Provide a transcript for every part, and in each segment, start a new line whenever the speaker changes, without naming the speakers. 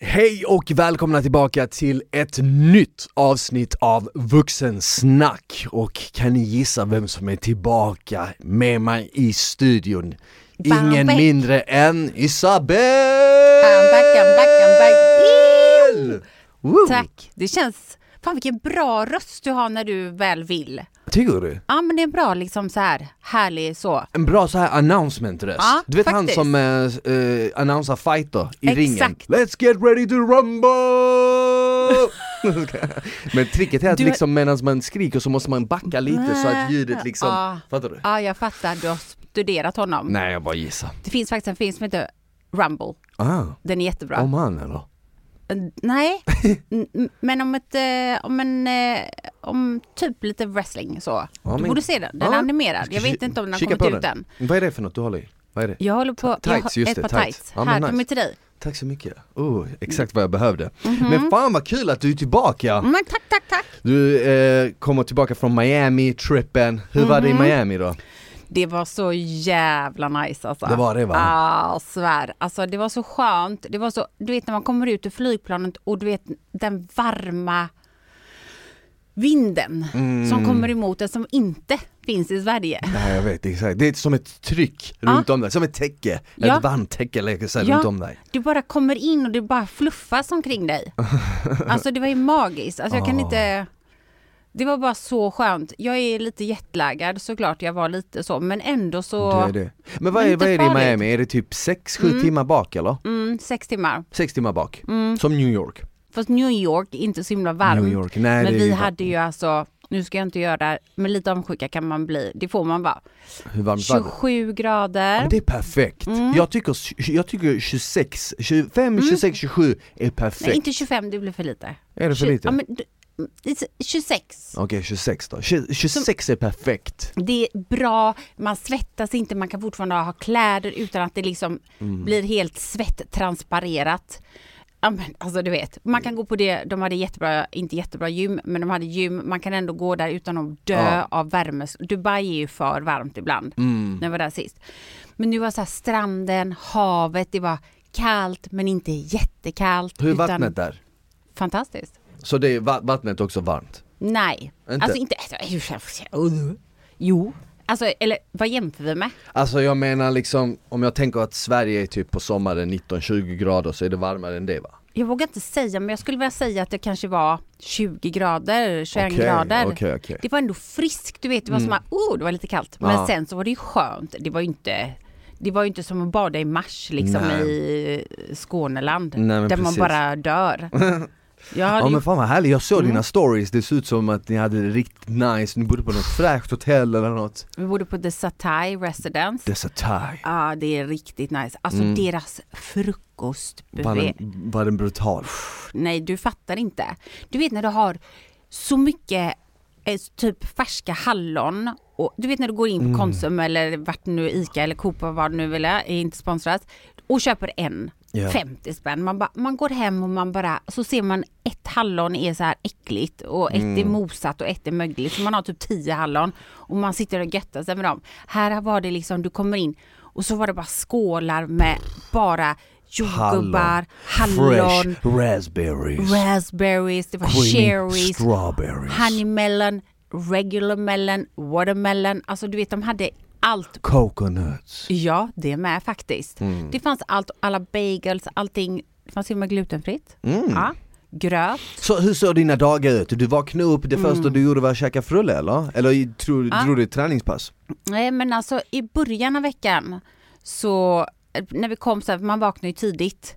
Hej och välkomna tillbaka till ett nytt avsnitt av Vuxensnack. Och kan ni gissa vem som är tillbaka med mig i studion?
Bam,
Ingen
back.
mindre än Isabel!
I'm back, I'm back, I'm back.
Woo!
Tack. Det känns... Fan vilken bra röst du har när du väl vill.
Tycker du?
Ja men det är bra liksom så här härlig så.
En bra så här announcement röst.
Ja,
du vet
faktiskt.
han som eh, eh, annonsar fighter i
Exakt.
ringen. Let's get ready to rumble! Men tricket är att
Du-
liksom medan man skriker så måste man backa lite så att ljudet liksom,
Ja.
fattar du?
Ja jag fattar, du har studerat honom.
Nej jag bara gissar.
Det finns faktiskt en film som heter Rumble.
Ah,
Den är jättebra.
om han eller?
Eh, Nej, N- m- men om ett, eh, om en, eh, om typ lite wrestling så.
Ja,
Du
men-
borde se den, den
Ja.
är animerad.
Ska
Jag vet
ki-
inte om den har
kika
kommit
på
ut än. Mm.
Vad är det för något du håller i? Vad är det?
Jag håller på, jag
tights,
har
just
ett
det,
par
tights.
tights.
Ja, men
Här,
nice.
de är till dig.
Tack så mycket. Oh, exakt vad jag behövde.
Mhm.
Men fan vad kul att du är tillbaka!
Men Mm, tack, tack, tack.
Du eh, kommer tillbaka från Miami, trippen. Hur var
Mhm.
det i Miami då?
Det var så jävla nice alltså.
Det var det, va?
Ja, svär. Alltså det var så skönt. Det var så, du vet när man kommer ut ur flygplanet och du vet den varma vinden
Mm.
som kommer emot en som inte finns i Sverige.
Nej jag vet exakt, det är som ett tryck runt om dig, som ett täcke,
Ja.
ett varmt täcke lägger sig runt om dig
Du bara kommer in och det bara fluffas omkring dig. Alltså det var ju magiskt. Alltså jag kan
Ah.
inte... Det var bara så skönt. Jag är lite jetlaggad såklart, jag var lite så, men ändå så...
det är det. Men vad är,
Inte
vad är det i
farligt.
Miami? Är det typ 6-7 timmar bak eller?
Mm, sex timmar.
6 timmar bak? Som New York?
Fast New York, inte så himla Mm. varmt.
New York, nej
men
det är
vi
ju-
hade ju alltså, nu ska jag inte göra, men lite avundsjuka kan man bli, det får man vara.
Hur varmt var det?
27 grader.
Men det är perfekt!
Mm.
Jag, tycker, jag tycker 26, 25, 26, 27 är perfekt!
Nej inte 25, det blir för lite.
Är det för
Tju-
lite?
Ja, men, du- mm, det är 26.
Okej 26 då, 20, 26 är perfekt!
Det är bra, man svettas inte, man kan fortfarande ha kläder utan att det liksom
Mm.
blir helt svetttransparerat. Ja, men, Alltså du vet, man kan gå på det, de hade jättebra, inte jättebra gym, men de hade gym, man kan ändå gå där utan att dö
Ja. Mm.
av värme. Dubai är ju för varmt ibland, när jag var där sist. Men nu var så här stranden, havet, det var kallt men inte jättekallt.
Hur är
utan
vattnet där?
Fantastiskt.
Så det är va- vattnet också varmt?
Nej,
Inte?
alltså inte, alltså, jo, alltså eller vad jämför vi med?
Alltså jag menar liksom, om jag tänker att Sverige är typ på sommaren 19-20 grader så är det varmare än det va?
Jag vågar inte säga, men jag skulle vilja säga att det kanske var 20 grader, 21
Okej,
grader.
okej, okej.
Det var ändå friskt, du vet, det var som att, oh, det var lite kallt. Men
Ja.
sen så var det ju skönt, det var ju inte det var ju inte som att bada i mars liksom
Nej.
i Skåneland
Nej, men
där
precis.
man bara Mm. dör. Jag hade
Ja
ju
men fan vad härligt, jag såg dina stories, det ser ut som att ni hade det riktigt nice, ni bodde på något fräscht hotell eller något
Vi bodde på The Satay Residence. Ja,
Dessa thai
ah, det är riktigt nice. Alltså
Mm.
deras frukostbuffé.
var den, var den brutal?
Nej, du fattar inte. Du vet när du har så mycket eh, typ färska hallon och du vet när du går in på
Mm.
Konsum eller vart nu Ica eller Coop och vad du nu vill är inte sponsrat och köper en.
Ja.
50 spänn. Man, bara- man går hem och man bara, så ser man ett hallon är så här äckligt och ett
Mm.
är mosat och ett är mögligt. Så man har typ 10 hallon och man sitter och göttar sig med dem. Här var det liksom, du kommer in och så var det bara skålar med bara jordgubbar, hallon,
fresh raspberries,
raspberries, det var
creamy
cherries,
strawberries,
honeymelon, regular melon, watermelon. Alltså du vet de hade allt.
coconuts
Ja, det med faktiskt.
Mm.
Det fanns allt, alla bagels, allting. Det fanns till och med glutenfritt.
Mm.
Ja, gröt.
Så hur såg dina dagar ut? Du vaknade upp, det
Mm.
första du gjorde var att käka frulle eller? Eller i- tror, drog du ett träningspass?
Nej men alltså i början av veckan så eh, när vi kom så här, man vaknar ju tidigt.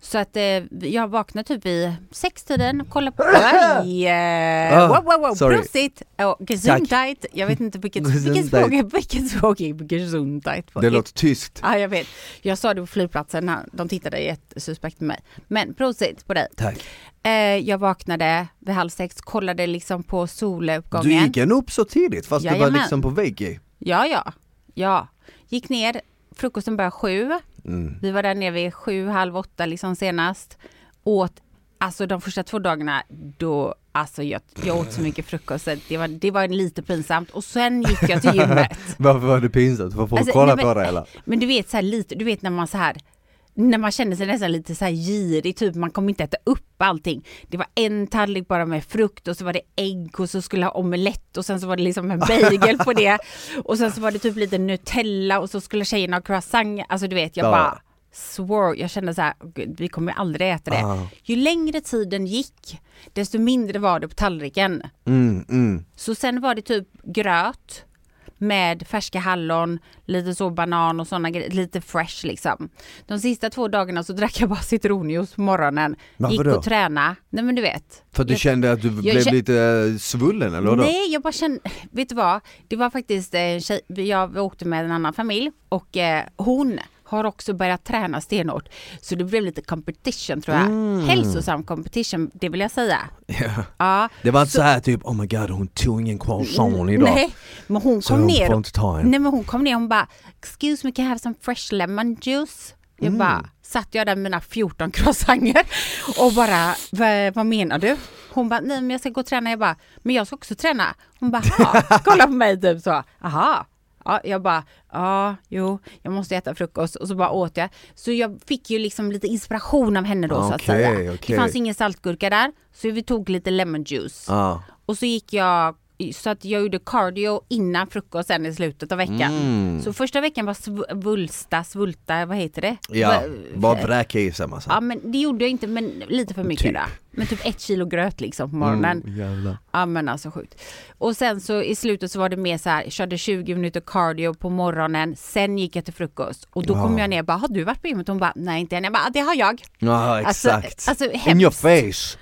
Så att eh, jag vaknade typ i sextiden, kollar på... Aj, eh,
Ah,
wow, wow, wow,
sorry.
prosit! Och gesundheit, jag vet inte vilket, vilket
Gesundheit.
språk, vilket språk är gesundheit på?
Det låter tyskt
Ja, jag vet. Jag sa det på flygplatsen, han- de tittade jättesuspekt på mig. Men prosit på dig.
Tack
Eh, jag vaknade vid halv sex, kollade liksom på soluppgången.
Du gick ändå upp så tidigt fast du var
Jajamän.
liksom på vägg
Ja, ja, ja. Gick ner, frukosten började sju.
mm.
Vi var där nere vid sju, halv åtta liksom senast. Åt, alltså de första två dagarna då, alltså jag, jag åt så mycket frukost så att det var, det var lite pinsamt. Och sen gick jag till gymmet.
Varför var det pinsamt? Får folk
Alltså,
kolla
nej,
på
men-
det eller?
Men du vet så här lite, du vet när man så här när man kände sig nästan lite så här girig, typ man kommer inte äta upp allting. Det var en tallrik bara med frukt och så var det ägg och så skulle jag ha omelett och sen så var det liksom en bagel på det. Och sen så var det typ lite Nutella och så skulle tjejerna ha croissant. Alltså du vet, jag
Ja.
bara swore, jag kände så här, "Gud, vi kommer aldrig äta det.
Ah.
Ju längre tiden gick, desto mindre var det på tallriken.
Mm, mm.
Så sen var det typ gröt med färska hallon, lite så banan och sådana grejer, lite fresh liksom. De sista två dagarna så drack jag bara citronjuice på morgonen.
Varför
gick
då?
och tränade. Nej men du vet.
För att du
Jag-
kände att du blev
kä-
lite eh, svullen eller vadå?
Nej, jag bara kände, vet du vad? Det var faktiskt eh, en tjej, jag åkte med en annan familj och eh, hon har också börjat träna stenhårt. Så det blev lite competition tror jag.
Mm.
Hälsosam competition, det vill jag säga.
Ja.
Ja.
Det var inte så här typ, oh my god hon tog ingen croissant idag.
Nej, men hon
Så
kom
hon
ner
får
och
inte ta en.
Nej men hon kom ner hon bara Excuse me can I have some fresh lemon juice? Jag
Mm.
bara satt jag där med mina 14 croissanter och bara "Va- vad menar du? Hon bara nej men jag ska gå och träna. Jag bara men jag ska också träna. Hon bara "Jaha." kolla på mig typ så. Aha. Ja, jag bara, ja, jo, jag måste äta frukost och så bara åt jag. Så jag fick ju liksom lite inspiration av henne då så att
Okej,
säga.
okej.
Det fanns ingen saltgurka där, så vi tog lite lemon juice.
Ja.
Och så gick jag, så att jag gjorde cardio innan frukosten i slutet av veckan.
Mm.
Så första veckan var sv- vulsta, svulta, vad heter det?
Ja,
Va-
bara vräka i sig en massa.
ja men det gjorde jag inte, men lite för mycket
Typ. Mm.
då. Men typ ett kilo gröt liksom på morgonen.
Jävlar.
Ja men alltså sjukt. Och sen så i slutet så var det mer så här, jag körde 20 minuter cardio på morgonen, sen gick jag till frukost. Och då kom
Wow.
jag ner och bara, har du varit på gymmet? Hon bara, nej inte än. Jag bara, det har jag.
Ja
Alltså-
exakt.
alltså,
In
hemskt. Ah.
your face.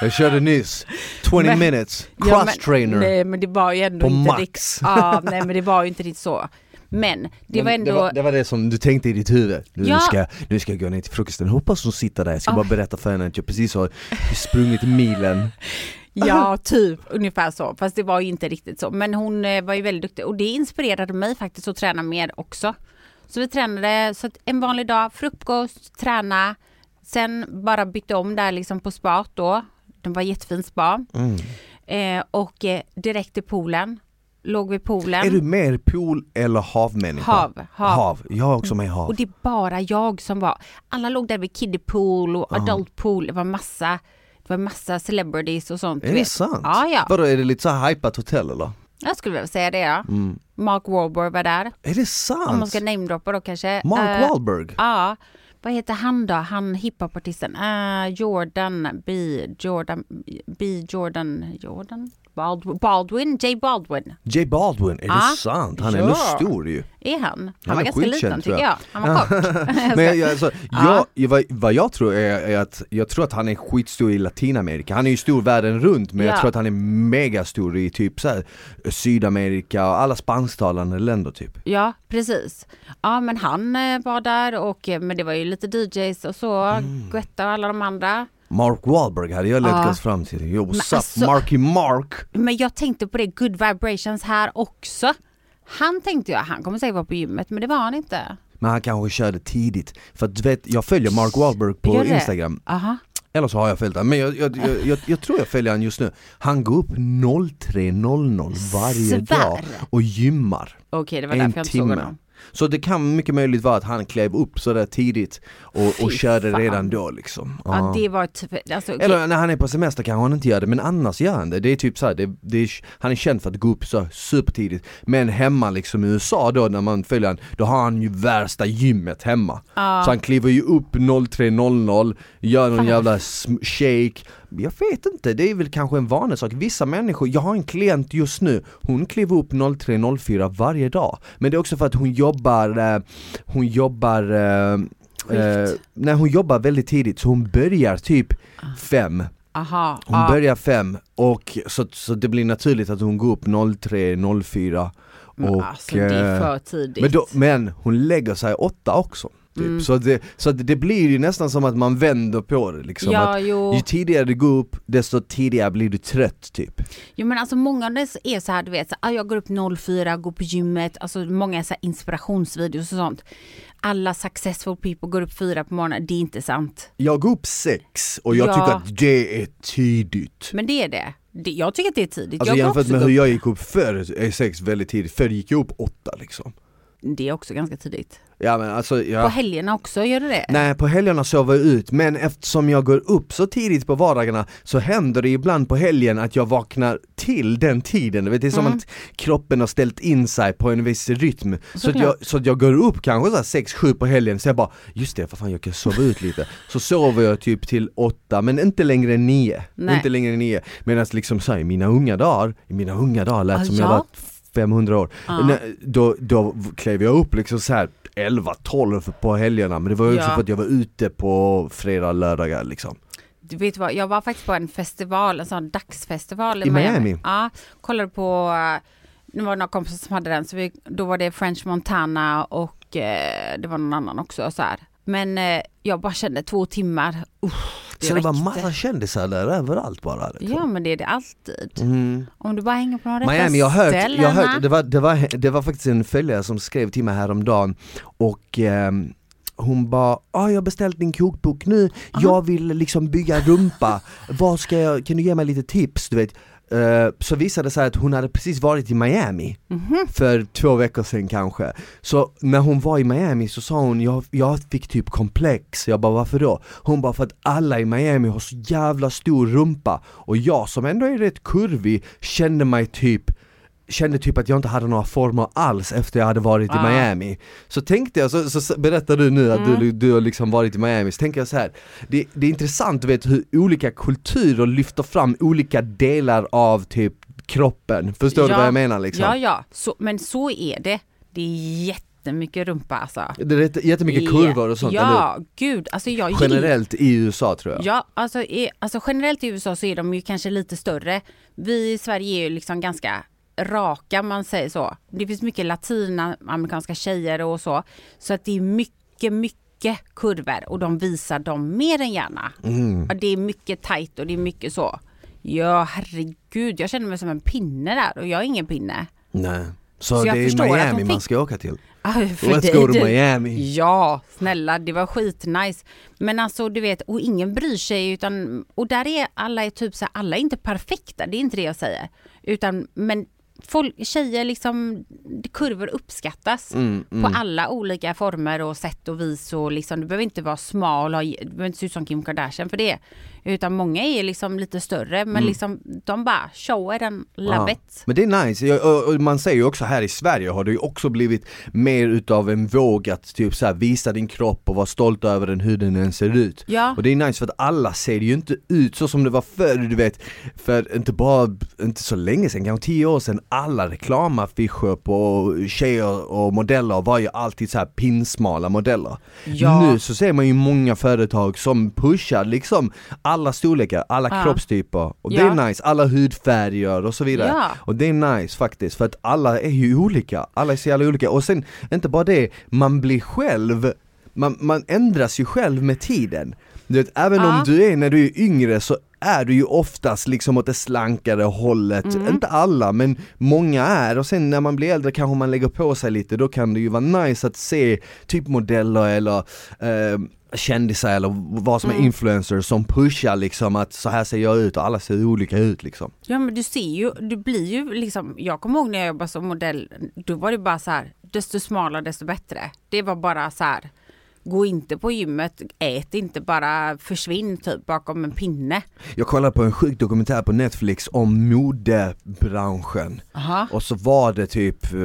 jag körde nyss, 20
Men-
minutes, cross
Ja, men-
trainer.
Nej men det var ju ändå
På
inte
max.
rikt- ja, nej men det var ju inte riktigt så. Men det
Men
var
det,
ändå...
var, det var det som du tänkte i ditt huvud. Nu,
Ja.
ska, nu ska jag gå ner till frukosten, hoppas hon sitter där, jag ska
Ah.
bara berätta för henne att jag precis har sprungit milen.
Ja, typ ungefär så. Fast det var ju inte riktigt så. Men hon eh, var ju väldigt duktig och det inspirerade mig faktiskt att träna mer också. Så vi tränade så att en vanlig dag, frukost, träna, sen bara bytte om där liksom på spat då. Det var jättefin spa.
Mm.
Eh, och eh, direkt till poolen, låg vid poolen.
Är du mer pool eller havmänniska?
Hav, hav. Mm.
Jag är också med i hav.
Och det är bara jag som var. Alla låg där vid kiddie pool och adult pool. Det var massa, det var massa celebrities och sånt. du
är det
vet.
sant?
Ja, ja.
Vadå, är det lite så här hypat hotell eller?
Jag skulle vilja säga det ja.
Mm.
Mark Wahlberg var där.
Är det
Om man
sant?
ska namedroppa då kanske.
Mark
Eh,
Wahlberg?
Ja. Vad heter han då? Han hiphopartisten. Uh, Jordan B. Jordan B. Jordan. Jordan? Baldwin. Baldwin? J. Baldwin.
J Baldwin, är
Ja.
det sant? Han är
Ah. Ja.
nog stor ju.
Är han?
Han
Han var
är
ganska
skitkänd,
liten
tror
tycker
jag.
jag. Han var kort.
Men jag, jag- alltså,
Ja.
jag, vad, vad jag tror är, är att, jag tror att han är skitstor i Latinamerika, han är ju stor världen runt men jag
Ja.
tror att han är megastor i typ så här, Sydamerika och alla spansktalande länder typ.
Ja, precis. Ja, men han eh, var där och eh, men det var ju lite DJs och så.
Mm.
Guetta och alla de andra.
Mark Wahlberg hade jag
Ja.
lätt fram till, yo what's up
alltså-
Marky Mark!
Men jag tänkte på det, good vibrations här också. Han tänkte jag, han kommer säkert vara på gymmet, men det var han inte.
Men han kanske körde tidigt, för att du vet, jag följer Mark Wahlberg på
Gör det?
Instagram,
Aha.
eller så har jag följt honom, men jag, jag, jag, jag, jag tror jag följer han just nu Han går upp 03.00 varje
Svär.
dag och gymmar
Okej, det var
en
därför jag inte såg
timme.
honom.
Så det kan mycket möjligt vara att han klev upp sådär tidigt och, och
Fy
körde
fan.
redan då liksom.
Ja,
Ja.
det var typ, alltså, okej.
Eller när han är på semester kanske han inte gör det, men annars gör han det. Det är typ såhär, det, det är, han är känd för att gå upp så supertidigt. Men hemma liksom i USA då när man följer han, då har han ju värsta gymmet hemma. Så han kliver ju upp 03.00, gör någon jävla sm- shake. Jag vet inte, det är väl kanske en vanlig sak. Vissa människor, jag har en klient just nu, hon kliver upp 03.04 varje dag. Men det är också för att hon jobbar, eh, hon jobbar eh,
Skift.
eh, när hon jobbar väldigt tidigt så hon börjar typ
Ah.
fem
Aha,
Hon
ja.
börjar fem och så, så det blir naturligt att hon går upp 03, 04
Men
och,
alltså, det är
eh,
för tidigt.
men, då, men hon lägger sig åtta också typ.
Mm.
Så, att det, så att det blir ju nästan som att man vänder på det liksom
ja,
att
jo.
ju tidigare du går upp desto tidigare blir du trött typ
Jo men alltså många av det är så här du vet, så, ah, jag går upp 04, går på gymmet, alltså många så här inspirationsvideos och sånt. Alla successful people går upp 4 på morgonen, det är inte sant.
Jag går upp sex och jag
Ja.
tycker att det är tidigt
Men det är det. det jag tycker att det är tidigt.
Alltså
jag går
jämfört
också
med
gå
hur
upp-
jag gick upp förr är sex väldigt tidigt, förr gick jag upp åtta liksom
Det är också ganska tidigt.
Ja men alltså, ja.
På helgerna också, gör du det?
Nej, på helgerna sover jag ut, men eftersom jag går upp så tidigt på vardagarna så händer det ibland på helgen att jag vaknar till den tiden. Du vet, det är
Mm.
som att kroppen har ställt in sig på en viss rytm. Så att,
Såklart.
jag, så att jag går upp kanske så här 6-7 på helgen, så jag bara just det, vad fan jag kan sova ut lite. Så sover jag typ till 8, men inte längre än 9.
Nej.
Inte längre än 9. Medan liksom så här, i mina unga dagar, i mina unga dagar lät
Ah,
som jag
ja.
var 500 år.
Ja.
Nej, då, då klev jag upp liksom så här 11-12 på helgerna men det var ju också
Ja.
för att jag var ute på fredag, lördagar liksom.
Du vet vad, jag var faktiskt på en festival, en sån dagsfestival i,
I Miami.
Ja, kollade på, eh, det var några kompisar som hade den, så vi, då var det French Montana och eh, det var någon annan också så här. Men eh, jag bara kände två timmar, usch, det
Så det var
räckte.
massa kändisar där överallt bara. Liksom.
Ja men det är det alltid.
Mm.
Om du bara hänger på de rätta
Miami, jag har hört, jag har hört det,
ställena.
var, det, var, det var faktiskt en följare som skrev till mig häromdagen och ehm, hon bara, ah, jag har beställt din kokbok nu, jag vill liksom bygga rumpa, Vad ska jag, kan du ge mig lite tips? Du vet? Eh, så visade det sig att hon hade precis varit i Miami
Mhm.
för två veckor sedan kanske. Så när hon var i Miami så sa hon, jag, jag fick typ komplex, jag bara varför då? Hon bara för att alla i Miami har så jävla stor rumpa och jag som ändå är rätt kurvig kände mig typ kände typ att jag inte hade några former alls efter jag hade varit i
Ah. Mm.
Miami. Så tänkte jag, så, så, så berättar du nu att du, du har liksom varit i Miami, så tänker jag så här. Det, det är intressant du vet hur olika kulturer lyfter fram olika delar av typ kroppen. Förstår du
Ja.
vad jag menar liksom?
Ja ja, så, men så är det. Det är jättemycket rumpa alltså.
Det är jätte- jättemycket kurvor och sånt, eller
Ja, gud. Alltså jag
hur?
gillar-
Generellt i USA tror jag.
Ja, alltså, i, alltså generellt i USA så är de ju kanske lite större. Vi i Sverige är ju liksom ganska raka om man säger så. Det finns mycket latinamerikanska tjejer och så. Så att det är mycket, mycket kurvor och de visar dem mer än gärna.
Mm.
Ja, det är mycket tajt och det är mycket så. Ja, herregud, jag känner mig som en pinne där och jag är ingen pinne.
Nej. Så,
Så jag
det
förstår
är
att de
Miami man
fick-
ska åka till.
Aj, Ah, för
Let's
dig,
go to
du.
Miami.
Ja, snälla det var skitnice. Men alltså du vet, och ingen bryr sig utan, och där är alla är typ så här, alla är inte perfekta, det är inte det jag säger. Utan, men folk, tjejer liksom, kurvor uppskattas
Mm,
på alla olika former och sätt och vis och liksom, du behöver inte vara smal, och, ha- du behöver inte se ut som Kim Kardashian för det. Utan många är liksom lite större men liksom, de bara show it and love
Mm. Ja.
it.
Men det är nice, Jag- och- och man säger ju också här i Sverige har det ju också blivit mer utav en våg att typ så här, visa din kropp och vara stolt över den hur den än ser ut.
Ja.
Och det är nice för att alla ser ju inte ut så som det var förr, du vet. För inte bara, inte så länge sedan, kanske tio år sedan, alla reklamaffischer på tjejer och modeller var ju alltid så här pinsmala modeller.
Ja.
Nu så ser man ju många företag som pushar liksom alla storlekar, alla
Ja.
kroppstyper. Och det
Ja.
är nice, alla hudfärger och så vidare vidare.
Ja.
Och det är nice faktiskt för att alla är ju olika, alla är så jävla olika och sen inte bara det, man blir själv, man, man ändras ju själv med tiden. Du vet, även
Ja.
om du är när du är yngre så är du ju oftast liksom åt det slankare hållet,
Mm.
inte alla men många är och sen när man blir äldre kanske man lägger på sig lite, då kan det ju vara nice att se typ modeller eller eh, kändisar eller vad som är
Mm.
influencers som pushar liksom att så här ser jag ut och alla ser olika ut liksom.
Ja men du ser ju, du blir ju liksom, jag kommer ihåg när jag jobbade som modell, då var det bara så här, desto smalare desto bättre. Det var bara så här, gå inte på gymmet, ät inte, bara försvinn typ bakom en pinne.
Jag kollade på en sjuk dokumentär på Netflix om modebranschen
Aha.
och så var det typ, eh,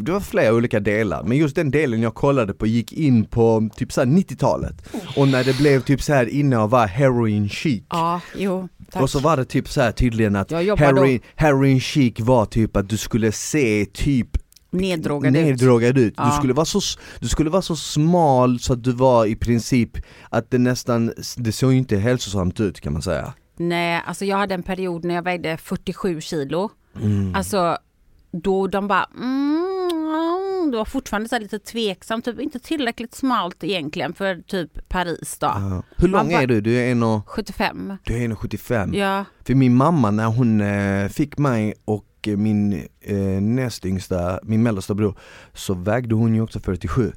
det var flera olika delar, men just den delen jag kollade på gick in på typ såhär 90-talet och när det blev typ så här inne och var heroin chic
Ja, jo, tack.
och så var det typ så här tydligen att
Jag jobbar då.
heroin, heroin chic var typ att du skulle se typ
Neddrogad ut.
neddrogad ut. Du,
Ja.
skulle vara så, s- du skulle vara så smal så att du var i princip, att det nästan, det såg ju inte hälsosamt ut kan man säga.
Nej, alltså jag hade en period när jag vägde 47 kilo.
Mm.
Alltså då de bara mm, mm, det var fortfarande så här lite tveksam, typ inte tillräckligt smalt egentligen för typ Paris då.
Ja. Hur
Man
lång
bara-
är du? Du är en och,
75.
du är en och 75.
Ja.
För min mamma när hon eh, fick mig och eh, min eh, näst yngsta, min mellersta bror, så vägde hon ju också 47.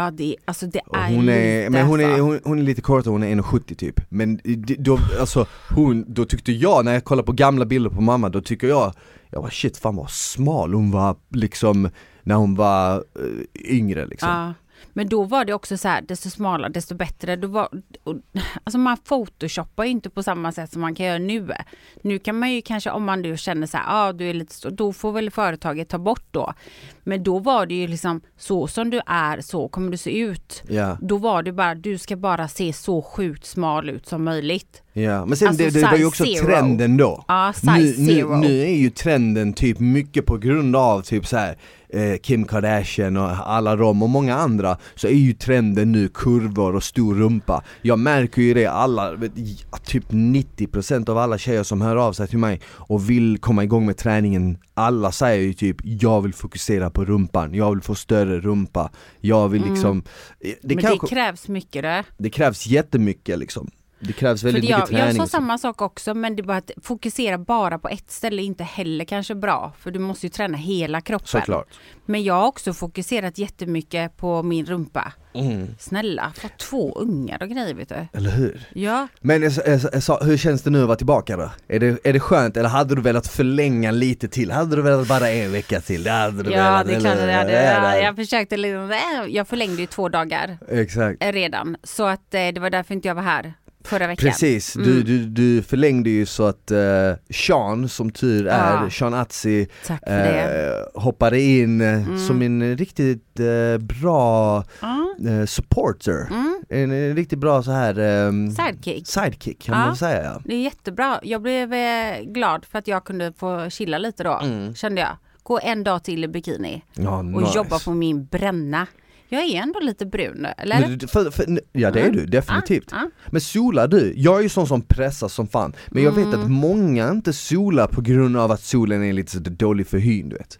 Ja det, alltså det
Och
är
hon, är,
lite
men hon, är,
alltså.
hon, hon är lite kortare, hon är 1,70 typ. Men det- då, alltså, hon, då tyckte jag, när jag kollar på gamla bilder på mamma, då tycker jag, jag var shit fan vad smal hon var liksom när hon var eh, yngre liksom.
Ja. Men då var det också så här, desto smalare desto bättre. Då var, och, alltså man photoshoppar ju inte på samma sätt som man kan göra nu. Nu kan man ju kanske, om man nu känner så här, ah, du är lite stor, då får väl företaget ta bort då. Men då var det ju liksom, så som du är, så kommer du se ut.
Ja.
Då var det bara, du ska bara se så sjukt smal ut som möjligt.
Ja, men sen
Alltså,
det, det var ju
size
också
zero.
trenden då.
Ja,
Nu,
size
nu,
zero.
nu är ju trenden typ mycket på grund av typ så här eh, Kim Kardashian och alla dem och många andra så är ju trenden nu kurvor och stor rumpa. Jag märker ju det alla, vet, ja, typ 90% av alla tjejer som hör av sig till mig och vill komma igång med träningen, alla säger ju typ jag vill fokusera på rumpan, jag vill få större rumpa, jag vill liksom eh, det,
Mm. Men
kanske,
det krävs mycket det.
det krävs jättemycket liksom. Det krävs
För
väldigt mycket
jag,
träning.
jag sa
och så.
samma sak också men det är bara att fokusera bara på ett ställe är inte heller kanske bra för du måste ju träna hela kroppen.
Såklart.
Men jag har också fokuserat jättemycket på min rumpa. Snälla, få två ungar och grejer vet du.
Eller hur?
Ja,
Men jag, jag, jag, sa, hur känns det nu att vara tillbaka då? Är det, är det skönt eller hade du velat förlänga lite till? Hade du velat bara en vecka till? Det hade du
ja
velat,
det är klart att
eller?
jag hade.
Det hade-
Ja, jag försökte liksom, äh, jag förlängde ju två dagar
Exakt
eh, redan. Så att eh, det var därför inte jag var här förra veckan.
Precis,
Mm.
du, du, du förlängde ju så att eh, Sean som tur är,
Ja.
Sean Atzi
Tack för det. Mm.
eh, hoppade in eh, som en riktigt eh, bra
Ja, Mm.
eh, supporter, en, en riktigt bra så här ehm,
sidekick.
sidekick kan
Ja.
man säga ja.
Det är jättebra. Jag blev eh, glad för att jag kunde få chilla lite då,
Mm.
kände jag. Gå en dag till i bikini
Ja,
Mm. och
nice.
jobba på min bränna. Jag är ändå lite brun, eller? Mm.
Men, du- för, för, ja det är du, definitivt.
ah.
Men solar du? Jag är ju sån som pressar som fan. Men jag vet
Mm.
att många inte solar på grund av att solen är lite så dålig för hyn du vet.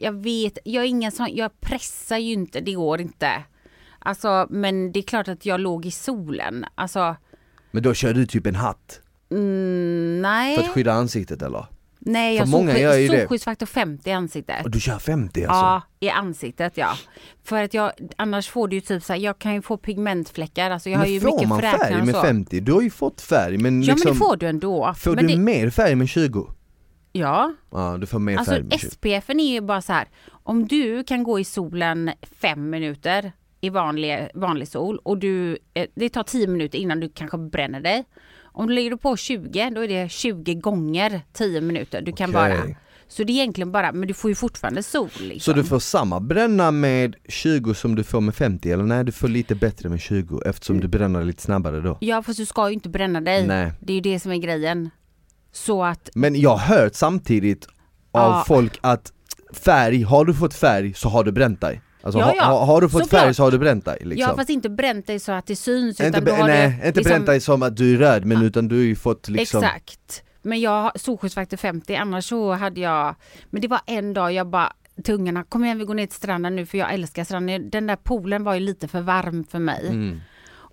Jag vet, jag är ingen sån, jag pressar ju inte, det går inte. Alltså, men det är klart att jag låg i solen. Alltså,
Men då kör du typ en hatt
mm,
för att
nej.
skydda ansiktet eller?
Nej, jag
för många
solsky-
gör ju det.
solskyddsfaktor 50 i ansiktet.
Och du kör 50 alltså?
Ja, i ansiktet ja. För att jag, annars får du ju typ så här, jag kan ju få pigmentfläckar, alltså jag har
men
ju
får
mycket
man
fräknar
färg
och
med
så.
50? Du har ju fått färg men
Ja
liksom,
men det får du ändå.
får
men
du
det,
mer färg med 20?
ja,
Ja du får mer
alltså
färg med 20.
SPFen är ju bara så här, om du kan gå i solen fem minuter i vanlig, vanlig sol och du, eh, det tar tio minuter innan du kanske bränner dig. Om du lägger på 20, då är det 20 gånger 10 minuter du kan
Okej.
bara. Så det är egentligen bara, men du får ju fortfarande sol.
Så
Liksom.
du får samma bränna med 20 som du får med 50 eller nej du får lite bättre med 20
Mm.
eftersom du bränner lite snabbare då?
Ja fast du ska ju inte bränna dig.
Nej.
Det är ju det som är grejen. Så att,
Men jag har hört samtidigt av
Ja.
folk att färg, har du fått färg så har du bränt dig. Alltså,
Ja, ja.
Har, har du fått
Såklart.
färg så har du bränt dig. Liksom.
ja fast inte bränt dig så att det syns.
inte
utan då har
nej,
du
inte bränt dig som att du är röd men utan du har ju fått liksom
Exakt. Men jag har solskyddsfaktor 50 annars så hade jag, men det var en dag jag bara tungarna, kom igen vi går ner till stranden nu för jag älskar stranden. Den där poolen var ju lite för varm för mig.
Mm.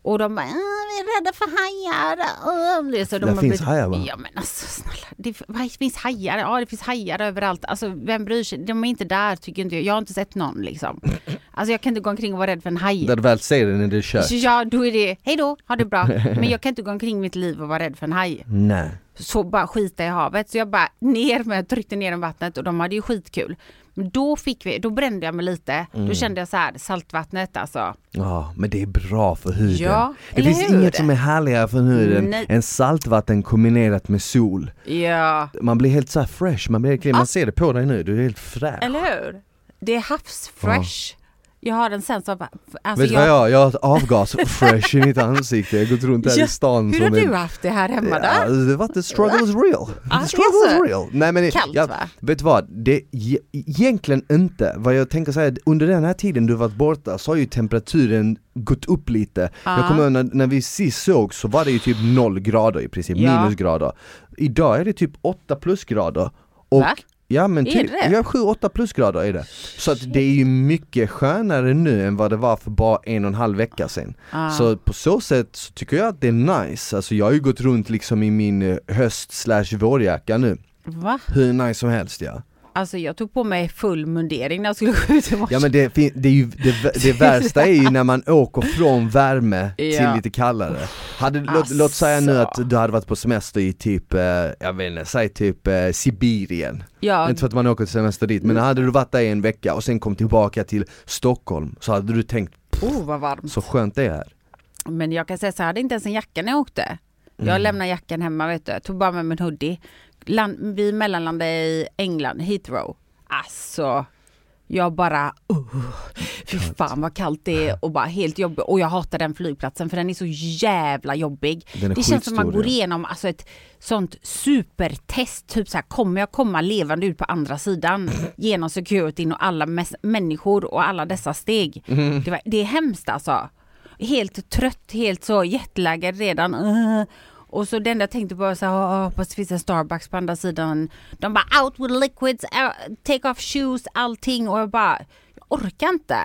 Och de bara, "Ah, vi är rädda för hajar. Ah, det är så de
Där
har
finns hajar, va?
Ja men alltså snälla, det f- vad- finns hajar, ja det finns hajar överallt. Alltså vem bryr sig, de är inte där tycker inte jag. Jag har inte sett någon liksom. Alltså jag kan inte gå omkring och vara rädd för en haj.
Där du väl ser den är det kört.
Så ja, då är det, hej då, ha det bra. Men jag kan inte gå omkring mitt liv och vara rädd för en haj
Nej.
så bara skita i havet. Så jag bara ner med, tryckte ner dem i vattnet och de hade ju skitkul. Men då fick vi, då brände jag mig lite.
Mm.
Då kände jag så här, saltvattnet alltså.
Ja, men det är bra för huden.
Ja,
det
eller
finns
hur?
inget som är härligare för huden
Nej.
än saltvatten kombinerat med sol.
Ja,
Man blir helt så här fresh, man blir helt clean. man ser det på dig nu, du är helt fräsch.
Ah. eller hur? Det är havsfresh. Jag har en sens av, alltså
Vet du vad jag, jag har ett avgas fresh i mitt ansikte, jag har gått runt här i stan
Hur har
som en
du haft det här hemma
Ja,
då?
det var the struggle is real.
det
The
är
struggle is
så.
real. Nej, men det-
Kallt,
jag,
va?
Vet du vad, det är e- egentligen inte. Vad jag tänker säga, under den här tiden du varit borta så har ju temperaturen gått upp lite. Jag kommer ihåg när, när vi sist såg så var det ju typ noll grader i princip,
Ja.
minusgrader. Idag är det typ 8 plusgrader. Och
Va?
Ja men
Är
typ,
det det?
ja, 7-8 plusgrader är det. Så att det är ju mycket skönare nu än vad det var för bara en och en halv vecka sedan.
Ah.
Så på så sätt så tycker jag att det är nice, alltså jag har ju gått runt liksom i min eh, höst slash vårjacka nu.
Va?
Hur nice som helst ja.
Alltså jag tog på mig full mundering när jag skulle gå ut i morse.
Ja men det, fin- det, är ju, det, det värsta är ju när man åker från värme till
Ja.
lite kallare. Hade, låt, låt säga nu
Alltså.
att du hade varit på semester i typ, eh, jag vet inte, säg typ eh, Sibirien.
Ja,
Inte för att man åker till semester dit, men hade du varit där i en vecka och sen kom tillbaka till Stockholm så hade du tänkt,
oh vad varmt.
så skönt det är här.
Men jag kan säga så här, jag hade inte ens en jacka när jag åkte. Jag lämnade jackan hemma vet du, jag tog bara med min hoodie. Land, vi mellanlandade i England, Heathrow. Alltså, jag bara, oh, fy fan vad kallt det är och bara helt jobbigt. Och jag hatar den flygplatsen för den är så jävla jobbig.
Den är
det känns som man
skitstor,
går
ja.
igenom alltså ett sånt supertest, typ så här, kommer jag komma levande ut på andra sidan genom securityn och alla mäs- människor och alla dessa steg. Det, var, det är hemskt alltså. Helt trött, helt så jetlaggad redan. Ugh. Och så den där tänkte bara så här, "Åh, hoppas det finns en Starbucks på andra sidan. De bara out with liquids, out, take off shoes, allting och jag bara, jag orkar inte.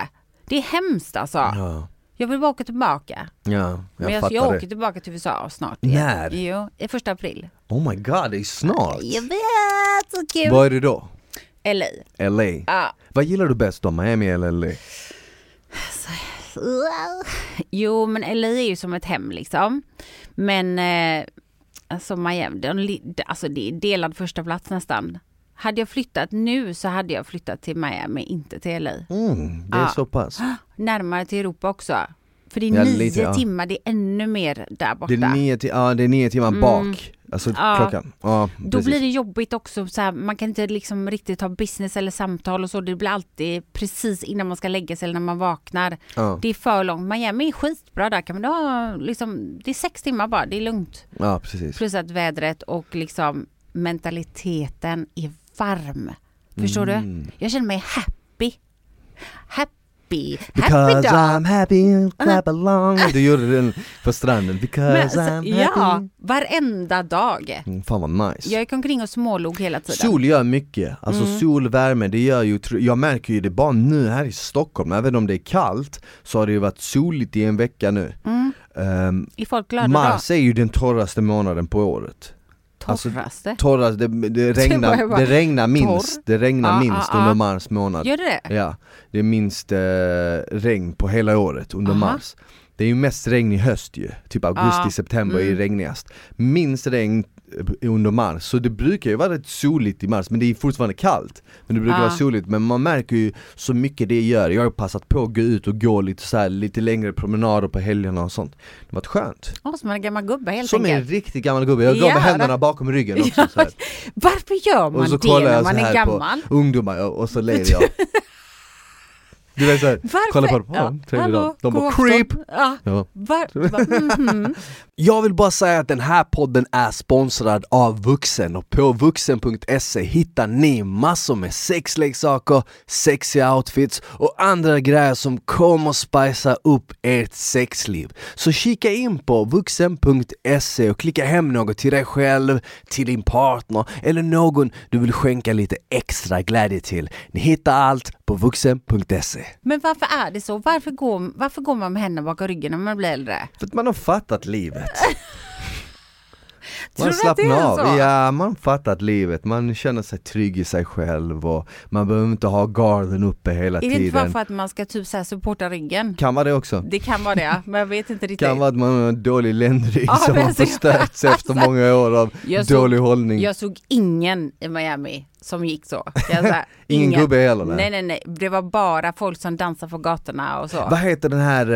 Det är hemskt alltså.
Ja,
Jag vill bara åka tillbaka.
ja jag
Men jag,
fattar
jag
det.
åker tillbaka till USA snart. igen.
När?
Jo, i första april.
Oh my god, det är snart!
Jag vet, så kul!
Vad är det då?
LA.
LA?
Ja.
Vad gillar du bäst då, Miami eller LA?
Jo, men LA är ju som ett hem liksom. Men eh, alltså Miami, de, li- alltså det är delad första plats nästan. Hade jag flyttat nu så hade jag flyttat till Miami, inte till LA.
Mm, det är
Ja.
så pass.
Närmare till Europa också. För det är
Ja,
nio
lite, ja.
timmar, det är ännu mer där
Det
borta.
är nio, ti- ja, det är nio timmar bak, alltså
Ja.
klockan. Ja,
Då
precis.
blir det jobbigt också, så här, man kan inte liksom riktigt ha business eller samtal och så. Det blir alltid precis innan man ska lägga sig eller när man vaknar.
Ja.
Det är för långt. Miami är skitbra där. Kan man ha, liksom, det är sex timmar bara, det är lugnt.
Ja precis.
Plus att vädret och liksom, mentaliteten är varm. Förstår
Mm.
du? Jag känner mig happy. Happy. happy
Because
dog.
I'm happy, and clap along Du gjorde den på stranden,
Men,
because
alltså,
I'm
ja,
happy
varenda dag.
Mm, Fan vad nice.
Jag gick omkring och smålog hela tiden.
Sol gör mycket, alltså sol, värme, det gör ju, tro- jag märker ju det bara nu här i Stockholm, även om det är kallt så har det ju varit soligt i en vecka nu. Ehm,
Mm. Är folk glada då?
mars är ju den torraste månaden på året. alltså,
Torraste?
Torrast, det, det,
jag
regnar,
bara,
det regnar minst,
torr?
det regnar
Ja,
minst
ja, ja.
under mars månad.
Gör det det?
Ja, det är minst eh, regn på hela året under
Aha.
mars. Det är ju mest regn i höst ju, typ augusti,
Ja, Mm.
september är ju regnigast. Minst regn eh, under mars, så det brukar ju vara rätt soligt i mars men det är fortfarande kallt. Men det brukar
Ja.
vara soligt, men man märker ju så mycket det gör. Jag har ju passat på att gå ut och gå lite så här, lite längre promenader på helgerna och sånt. Det har varit skönt.
Ja, som en gammal gubbe helt
Som en
enkelt.
riktig gammal gubbe, jag går
Ja,
med händerna
det-
bakom ryggen också så här.
Varför gör man
Och så
det
kollar
när
jag så
man är
här på
gammal?
ungdomar och, och så ler jag Du vet såhär,
Varför?
kollar på dem, ja, tredje dagen, de bara creep!
Ja,
Ja.
var, var, mhm.
Jag vill bara säga att den här podden är sponsrad av Vuxen och på vuxen.se hittar ni massor med sexleksaker, sexiga outfits och andra grejer som kommer spicea upp ert sexliv. Så kika in på vuxen.se E och klicka hem något till dig själv, till din partner eller någon du vill skänka lite extra glädje till. Ni hittar allt på vuxen.se.
Men varför är det så? Varför går, varför går man med händerna bakom ryggen när man blir äldre?
För att man har fattat livet.
Tror du att det är så?
ja man har fattat livet, man känner sig trygg i sig själv och man behöver inte ha garden uppe hela
Är det inte bara
tiden.
för att man ska typ så här supporta ryggen?
Kan vara det också.
Det kan vara det, ja, men jag vet inte riktigt.
Kan vara att man har en dålig ländrygg
Ja,
som har
precis.
förstörts efter många år av
Alltså, Jag såg-
dålig hållning.
Jag såg ingen i Miami som gick så. Jag sa,
Ingen gubbe heller, nej.
Nej, nej, nej. Det var bara folk som dansade på gatorna och så.
Vad heter den här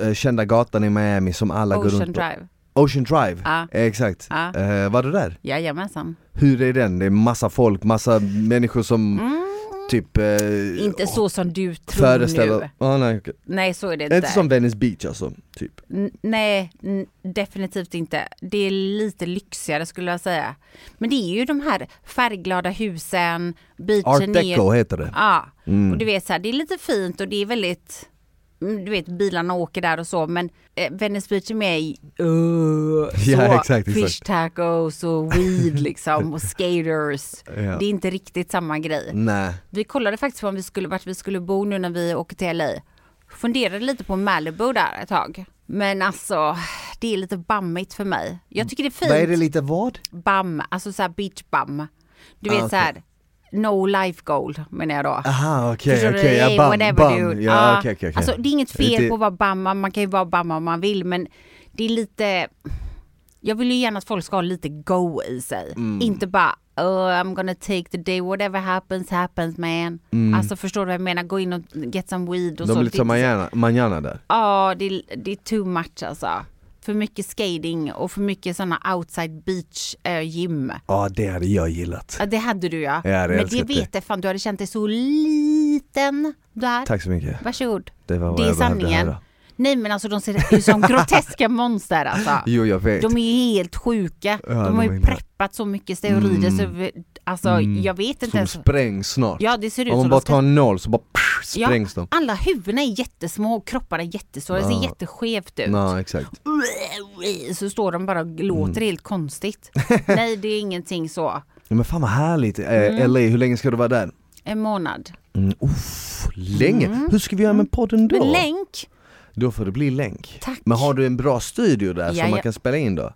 eh, eh, kända gatan i Miami som alla går
Ocean
runt på?
Drive.
Ocean Drive.
Ja.
Eh, Exakt.
Ja.
Eh, var du där?
Jajamensan.
Hur är den? Det är massa folk, massa människor som
Mm.
typ... eh,
Inte så som du tror
föreställer...
nu.
Ah, nej, okej.
Nej så är det
Inte
inte.
som Venice Beach alltså, typ.
N- Nej, n- definitivt inte. Det är lite lyxigare skulle jag säga. Men det är ju de här färgglada husen, beachen
Art deco
är...
heter det. Mm.
Ja, och du vet så här, det är lite fint och det är väldigt mm, du vet bilarna åker där och så men eh, Venice Beach är med i uh, så,
Ja, exakt, exakt.
fish tacos och weed liksom och skaters.
Ja.
Det är inte riktigt samma grej.
Nej.
Vi kollade faktiskt på om vi skulle, vart vi skulle bo nu när vi åker till LA. Funderade lite på Malibu där ett tag. Men alltså, det är lite bammigt för mig. Jag tycker det är fint.
Vad är det lite vad?
Bam, alltså så här beach bam. Du
Ah,
vet
okej.
så här, No life goal menar jag då.
Aha okej,
Förstår du?
okej,
Hey,
ja, bam,
whatever,
bam.
dude.
Ja,
Ja.
okej, okej, okej.
Alltså det är inget fel
Det-
på att vara bamma, man kan ju vara bamma om man vill men det är lite Jag vill ju gärna att folk ska ha lite go i sig.
Mm.
Inte bara oh, I'm gonna take the day, whatever happens happens man. Alltså förstår du vad jag menar? Gå in och get some weed
Mm. De
och så.
blir lite som
Det-
manana, manana där.
Ja, det, är- det är too much alltså. För mycket skating och för mycket sådana outside beach eh, gym.
Ja det hade jag gillat.
Ja, det hade du ja.
Jag hade
Men det
älskat det.
vet jag fan, du hade känt dig så liten där.
Tack så mycket.
Varsågod.
Det var vad
Det är
jag behövde
sanningen.
höra.
Nej men alltså de ser ut som groteska monster alltså.
Jo jag vet.
De är ju helt sjuka.
Ja,
de har
de är
ju
inte-
preppat så mycket steroider så vi- alltså jag vet inte
Som
ens.
sprängs snart.
Ja det ser ut
Om man
som
bara
de
tar
ska...
en noll så bara psh, sprängs de.
Alla huvuden är jättesmå och kropparna är jättestora. Det
Ja.
ser jätteskevt ut.
Ja exakt.
Så står de bara och
Mm.
låter helt konstigt. Nej det är ingenting så.
Ja, men fan vad härligt. Eh,
Mm.
LA, hur länge ska du vara där?
En månad.
Mm, uff, länge. Hur ska vi göra med podden då?
Men Mm. länk.
Då får det bli länk.
Tack.
Men har du en bra studio där som
Jaja.
man kan spela in då?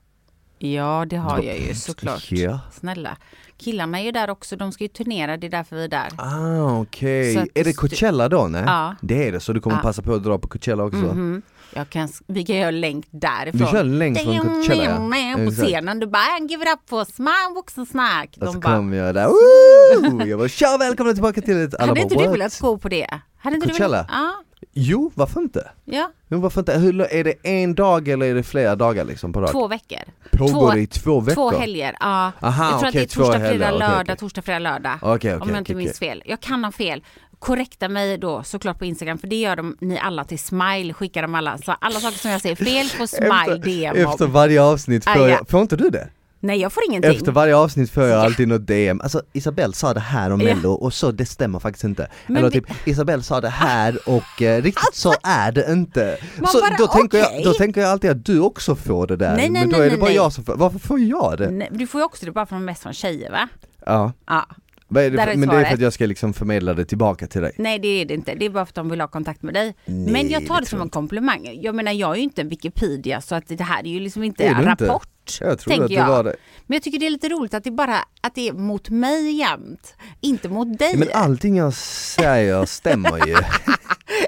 Ja det har jag ju såklart.
Ja.
Snälla. Killarna är ju där också, de ska ju turnera, det är därför vi är där.
Ah okej,
Så att
är det
stu-
Coachella då? Nej?
Ja.
Det är det, så du kommer
Ja.
passa på att dra på Coachella också?
Mhm. Jag kan, vi kan göra länk därifrån.
Vi kör länk från Coachella, ja.
På
Exakt.
scenen, du bara "And give it up for smile vuxen snack.
Och
De
så
bara,
kommer jag där, Woo! jag bara tja välkomna tillbaka till ett... Alla
hade inte
bara,
du
"What?"
velat gå på det? Hade inte
Coachella?
Du velat?
Jo, varför inte?
Ja,
Jo, varför inte? Hur, är det en dag eller är det flera dagar liksom på
ja,
rad?
två veckor.
Pågår det i två veckor?
Två helger, ja.
Aha,
jag tror
okej,
att det
två
är torsdag,
helger,
fredag,
okej,
lördag,
okej.
torsdag, fredag, lördag.
Okej, okej,
om jag inte
okej,
minns fel. Jag kan ha fel. Korrekta mig då såklart på Instagram för det gör de, ni alla till smile, skickar de alla. Så alla saker som jag säger fel på smile DM. om.
efter varje avsnitt får
Ah, ja.
jag, får inte du det?
Nej jag får ingenting.
Efter varje avsnitt får jag
Ja.
alltid något DM, alltså Isabel sa det här om
Ja.
mello och så det stämmer faktiskt inte.
Men
Eller
vi- Alltså-
typ Isabel sa det här och eh, riktigt så är det inte.
Man
Så
bara,
då, tänker jag,
okej.
då tänker jag alltid att du också får det där,
Nej, nej,
men då
nej,
är det
nej,
bara
nej. Mm.
jag som får, varför får jag det?
Nej, men du får ju också det bara från, mest från tjejer va?
Ja.
Ja.
Vad är det
Där
för,
är
men det är för
svaret.
att jag ska liksom förmedla det tillbaka till dig.
Nej det är det inte, det är bara för att de vill ha kontakt med dig.
Nej,
men jag tar
det
det,
tror
som
jag
en komplimang. Jag menar jag är ju inte en Wikipedia så att det här är ju liksom inte
Är
en
du inte?
rapport.
Jag trodde
tänker
att det
jag.
var det.
Men jag tycker det är lite roligt att det bara att det är mot mig jämt, inte mot dig.
Men ah. allting jag säger stämmer ju.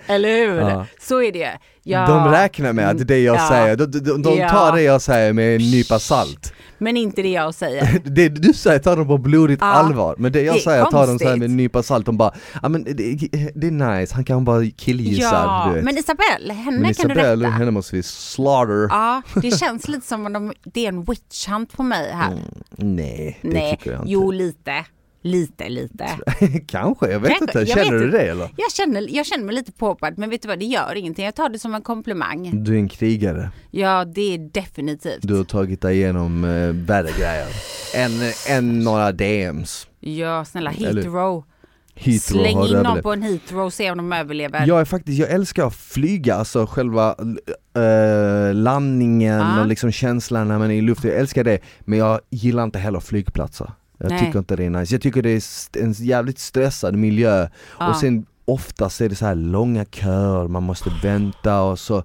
Eller hur?
Ja.
Så är det. Ja. Mm.
De räknar med att det jag
Ja.
säger, de, de, de
Ja.
tar det jag säger med en nypa salt.
Men inte det jag säger.
Det du säger tar de på blodigt
Ja.
allvar, men det jag
Det är
säger tar de så här med en
konstigt.
nypa salt, de bara ja men det, det är nice, han kan bara killgissar
ja,
du vet.
men Isabelle, henne
men
kan du
Isabel,
rätta.
henne måste vi slaughter.
Ja, det känns lite som om de, det är en witch hunt på mig här.
Nej, Mm, det
Nej,
tycker jag inte.
jo lite. Lite, lite.
Kanske, jag vet inte,
Kanske, jag
känner
vet
du
inte.
det eller?
Jag känner, jag känner mig lite påhoppad men vet du vad, det gör ingenting. Jag tar det som en komplimang.
Du är en krigare,
Ja, det är definitivt.
Mm. du har tagit dig igenom eh, värre grejer än, än några DMs.
Ja, snälla
Eller-
Heathrow.
Heathrow
Släng
har
in någon
överlevt.
på en Heathrow och se om de överlever.
Jag är faktiskt, jag älskar att flyga, alltså själva eh, landningen
Ja.
och liksom känslan när man är i luften, jag älskar det. Men jag gillar inte heller flygplatser. Jag
Nej.
tycker inte det är nice. Jag tycker det är st- en jävligt stressad miljö
Ja.
och sen oftast är det så här långa köer, man måste vänta och så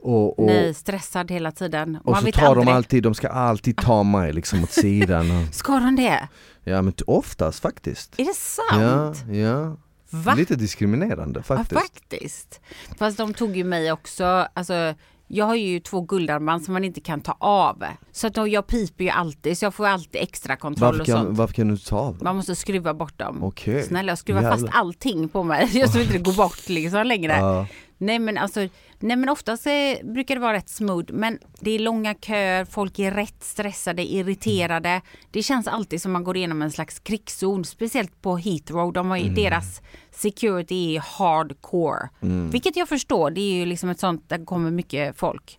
och, och,
Ah. Nej, stressad hela tiden.
och
Man
så
vet
tar de
aldrig.
alltid, de ska alltid ta mig liksom åt sidan. Och,
Ska de det?
ja men t- oftast faktiskt.
Är det sant?
Ja, ja.
Va?
Lite diskriminerande faktiskt.
Ja, faktiskt. Fast de tog ju mig också, alltså jag har ju två guldarmband som man inte kan ta av. Så att då, jag piper ju alltid så jag får alltid extra kontroll
varför,
och
kan,
sånt.
varför kan du ta av dem?
Man måste skruva bort dem.
Okej.
Snälla jag skruvar
Jävlar.
fast allting på mig. Jag så inte det går bort liksom längre.
Ja.
Nej men alltså, nej men oftast eh, brukar det vara rätt smooth men det är långa köer, folk är rätt stressade, irriterade. Det känns alltid som man går igenom en slags krigszon, speciellt på Heathrow. De har ju,
Mm.
Deras security är hardcore,
Mm.
vilket jag förstår. Det är ju liksom ett sånt, där kommer mycket folk.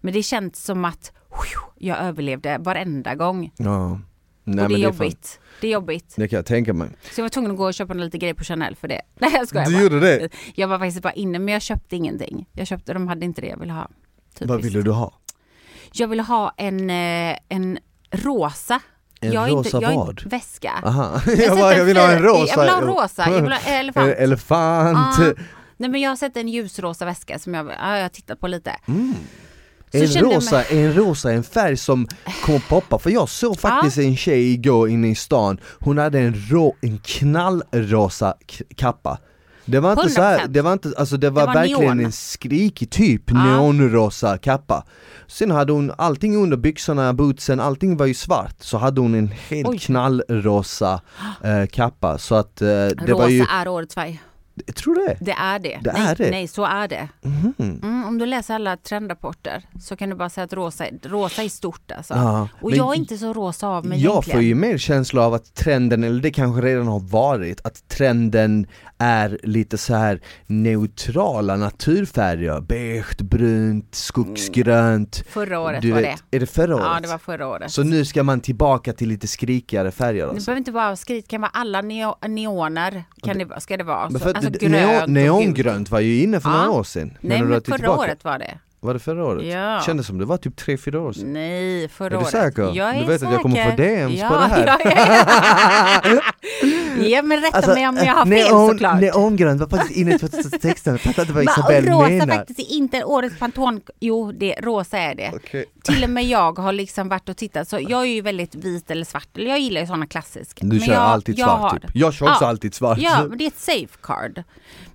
Men det känns som att phew, jag överlevde varenda gång.
Ja. Nej,
och det är
fan-
jobbigt. Det är jobbigt.
det kan jag tänka mig.
Så jag var tvungen att gå och köpa lite grejer på Chanel för det. Nej jag skojar
Du
bara.
gjorde det?
Jag var faktiskt bara inne men jag köpte ingenting. Jag köpte, de hade inte det jag ville ha. Typiskt.
Vad ville du ha?
Jag ville ha en, eh, en rosa.
En
jag är
rosa
inte, jag är
vad?
Inte, väska.
Aha.
Jag
Jag,
har
bara,
sett
jag
en
vill ha en
fin-
rosa.
Jag vill ha en rosa, jag vill ha en
En
elefant.
elefant. Mm,
Ah. Nej men jag har sett en ljusrosa väska som jag, ja, jag har tittat på lite. Så
Är en,
kände jag
rosa, är en rosa en färg som kommer poppa? För jag såg faktiskt en tjej igår inne i stan, hon hade en, rå, en knallrosa k- kappa det var inte så här,
100%.
det var inte, alltså det var,
var
verkligen
neon.
en skrikig typ neonrosa kappa Sen hade hon allting under byxorna, bootsen, allting var ju svart Så hade hon en helt
Oj.
knallrosa eh, kappa så att eh, det
Rosa
var ju,
är årets färg.
jag tror det
Det är det.
Det
nej,
är det.
nej, så är det. Mm, om du läser alla trendrapporter så kan du bara säga att rosa, rosa är stort alltså.
Ja,
Och
men-
jag är inte så rosa av mig
jag
egentligen.
får ju mer känsla av att trenden, eller det kanske redan har varit, att trenden är lite så här neutrala naturfärger, beige, brunt, skogsgrönt
Förra året
Du
var
vet, Är det förra
det.
året?
Ja, det var förra året.
Så nu ska man tillbaka till lite skrikigare färger
Det
alltså?
behöver inte vara skrik, det kan vara alla neo- neoner kan det, ska det vara.
Men
Alltså,
för att
alltså
det-
grönt
neon,
och gult.
neongrönt var ju inne för
Ja.
några år sedan
Nej
du
men
att det är
förra
tillbaka?
året var det.
Var det förra året?
Ja.
Kändes som det var typ 3-4 år sedan
Nej, förra
Är du
året.
säker?
Jag
Du
är
vet
säker.
att jag kommer få DMs
ja,
på det här.
Ja, ja, ja. ja Alltså, men rätta mig om jag har fel
Alltså, neon,
såklart.
Neongrönt var faktiskt inne i 2016, jag fattar inte vad
Men
Isabelle
rosa
menar
faktiskt är inte årets Pantone. Jo, det, rosa är det.
Okej.
Till och med jag har liksom varit och tittat. Så jag är ju väldigt vit eller svart. Eller jag gillar ju sådana klassiska.
Du
Men
kör
jag,
alltid
jag
svart
har-
typ. Jag kör också
Ja.
alltid svart.
Ja, men det är ett safe card.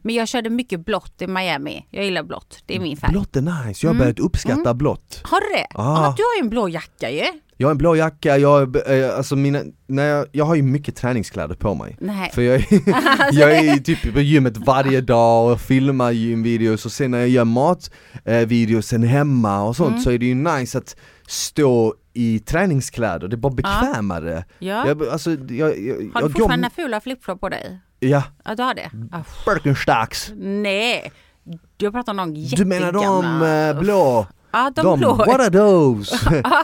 Men jag körde mycket blått i Miami. Jag gillar blått. Det är min färg.
Blått är nice, jag
Mm.
har börjat uppskatta blått.
Har du det?
Ah.
Ja, du har ju en blå jacka ju.
Jag har en blå jacka, jag, har b- eh, alltså mina, när jag, jag har ju mycket träningskläder på mig.
Nej. Alltså-
För jag, är- jag är ju typ på gymmet varje dag och filmar gymvideos och sen när jag gör matvideos sen hemma och sånt
Mm.
så är det ju nice att stå i träningskläder, det är bara bekvämare.
Ja.
Jag, alltså, jag, jag, Mm.
har du
jag
fortfarande fula flipflop på dig?
Ja,
Ja, du har det? Ah, f-
Birkenstocks.
nej. Jag pratar om de
Du
jättegamla.
menar de eh, blå?
Ja, de, blå.
what are those?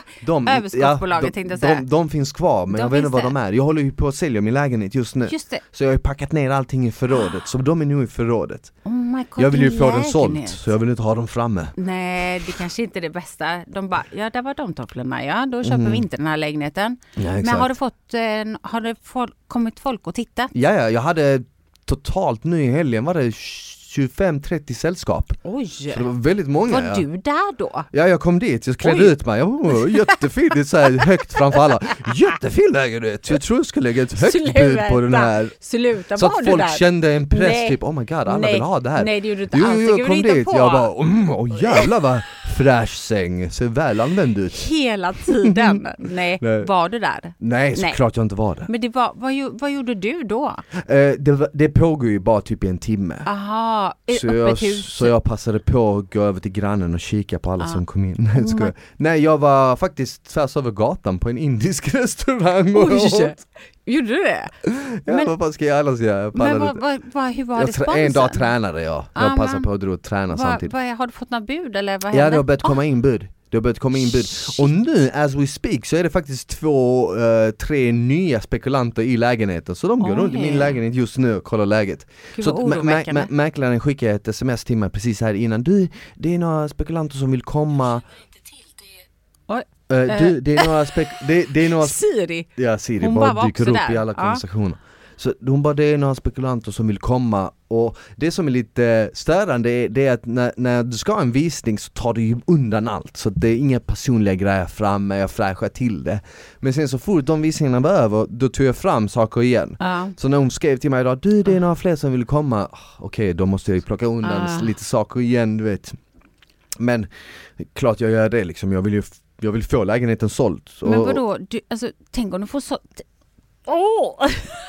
de,
Överskottsbolaget tänkte jag
de,
säga.
de, de finns kvar men
De
jag vet inte
finns
vad de
det.
är, jag håller ju på att sälja min lägenhet just nu
Just det.
Så jag har ju packat ner allting i förrådet, så de är nu i förrådet
Oh my God,
Jag vill ju
din
få den såld,
lägenhet.
så jag vill inte ha dem framme
Nej, det kanske inte är det bästa. De bara, ja där var de tofflorna ja, då köper vi inte den här lägenheten.
Mm. Ja,
Men
exakt.
har, du fått, eh, har det fol- kommit folk och titta?
Ja, ja, jag hade totalt nu i helgen var det 25-30 sällskap
Oj!
Så det var väldigt många
Var
ja.
du där då?
Ja jag kom dit, jag klädde
Oj.
ut mig, jag var jättefin, det är så här högt framför alla Jättefin lägenhet, jag tror jag ska lägga ett högt bud på den här
Sluta,
Så
var
att
du
folk
där?
kände en press
Nej.
typ, oh my god alla
nej.
vill ha det här
Nej det gjorde du inte
Jo,
alls,
jo,
det
jag
gjorde
kom
du inte
dit,
på.
jag bara mm, åh jävlar vad fräsch säng, ser väl använd ut
Hela tiden. Nej.
Nej.
var du där?
Nej
Nej.
såklart jag inte var det
Men det var, vad, ju- vad gjorde du då?
eh, det, var- det pågår ju bara typ i en timme
Aha, i
så jag,
öppet hus.
så jag passade på att gå över till grannen och kika på alla som kom in. Nej, jag
Mm.
skojar. Nej jag var faktiskt tvärs över gatan på en indisk restaurang och
Oj!
åt.
Gjorde du det?
Ja,
Men-
vad fan ska jag annars göra? Jag
Men
pallade
vad,
inte.
vad, vad, hur var
jag trä-
responsen?
en dag tränade jag, jag
Ah,
passade
man.
på att dra och träna
vad,
samtidigt.
vad, Har du fått några bud eller vad Ah.
Ja
hände?
det har börjat komma in bud, det har börjat komma in bud. Och nu as we speak så är det faktiskt två, eh, tre nya spekulanter i lägenheten så de går
Oj.
runt i min lägenhet just nu och kollar läget.
Gud,
så
vad
att mä- mä-
oroväckande.
mä- mäklaren skickade ett sms till mig precis här innan, du det är några spekulanter som vill komma,
Oj,
Eh, du det är några spek- det, det är några
Siri!
Ja Siri
Hon
bara,
bara var
dyker
också
upp
där.
i alla
Ja.
konversationer. Så hon bara, det är några spekulanter som vill komma och det som är lite störande är, det är att när, när du ska ha en visning så tar du ju undan allt. Så det är inga personliga grejer framme, jag fräschar till det. Men sen så fort de visningarna var över, då tog jag fram saker igen.
Ja.
Så när hon skrev till mig idag, du det är några fler som vill komma, Ah, okej då måste jag ju plocka undan
Ah.
lite saker igen du vet Men klart jag gör det liksom, jag vill ju f- jag vill få lägenheten såld
Men
Och-
vadå, du, alltså, tänk om du får så... t- Åh!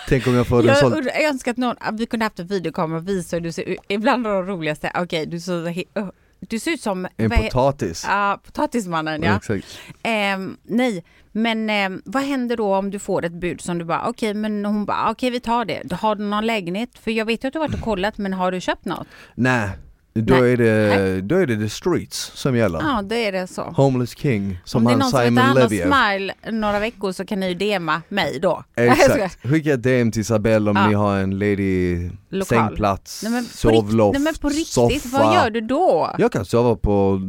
Tänk om jag får den
Jag,
såld
undrar- jag önskar att någon, att vi kunde haft en videokamera och visa hur du ser ut. Ibland är de roligaste, okej du, ser he- öh, du ser ut som...
En
vad he-
potatis. Mm.
Ja, potatismannen ja.
Exakt.
Ehm, nej, men ehm, vad händer då om du får ett bud som du bara okej, men hon bara okej vi tar det. Har du någon lägenhet? För jag vet ju att du har varit och kollat men har du köpt något?
Nej, då,
Nej.
Är det, då är det the streets som gäller.
Ja, då är det så.
Homeless king, som
om det är
han
någon som vill ta
Simon
hand om
Levy. är.
Smile några veckor så kan ni ju DMa mig då.
Exakt, skicka ett DM till Isabelle om
Ja.
ni har en ledig
Lokal.
sängplats,
Nej men, på rikt-
sovloft,
nej men på riktigt,
soffa.
vad gör du då?
Jag kan sova på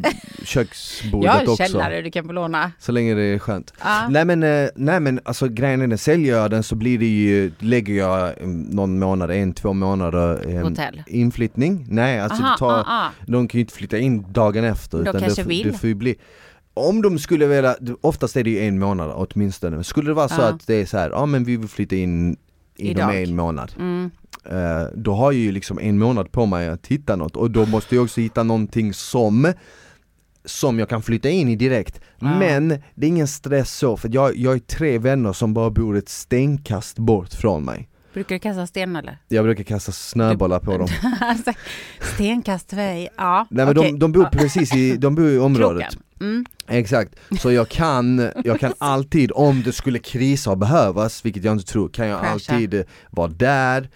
Jag har
köksbordet
en
också.
källare du kan få låna.
Så länge det är skönt.
Ja.
Nej men, eh, nej men alltså grejen är den, säljer jag den så blir det ju, lägger jag mm, någon månad, en, två månader eh,
Hotell.
inflyttning. Nej alltså
Aha,
det tar ha,
ah, ah.
de kan ju inte flytta in dagen efter.
De
det
kanske
f-
vill.
Det får ju bli, om de skulle vilja, oftast är det ju en månad åtminstone, skulle det vara så
Ja.
att det är så här, ja men vi vill flytta in inom
Idag.
en månad.
Mm.
Eh, då har jag ju liksom en månad på mig att hitta något och då måste jag också hitta någonting som som jag kan flytta in i direkt.
Ja.
Men det är ingen stress så, för jag, jag är tre vänner som bara bor ett stenkast bort från mig.
Brukar du kasta sten eller?
Jag brukar kasta snöbollar på dem.
Alltså, Stenkast väg, ja.
Nej men
okej.
de, de bor precis i, de bor i området.
Kroken. Mm.
Exakt, så jag kan, jag kan alltid om det skulle krisa och behövas, vilket jag inte tror, kan jag
Crasha.
alltid eh, vara där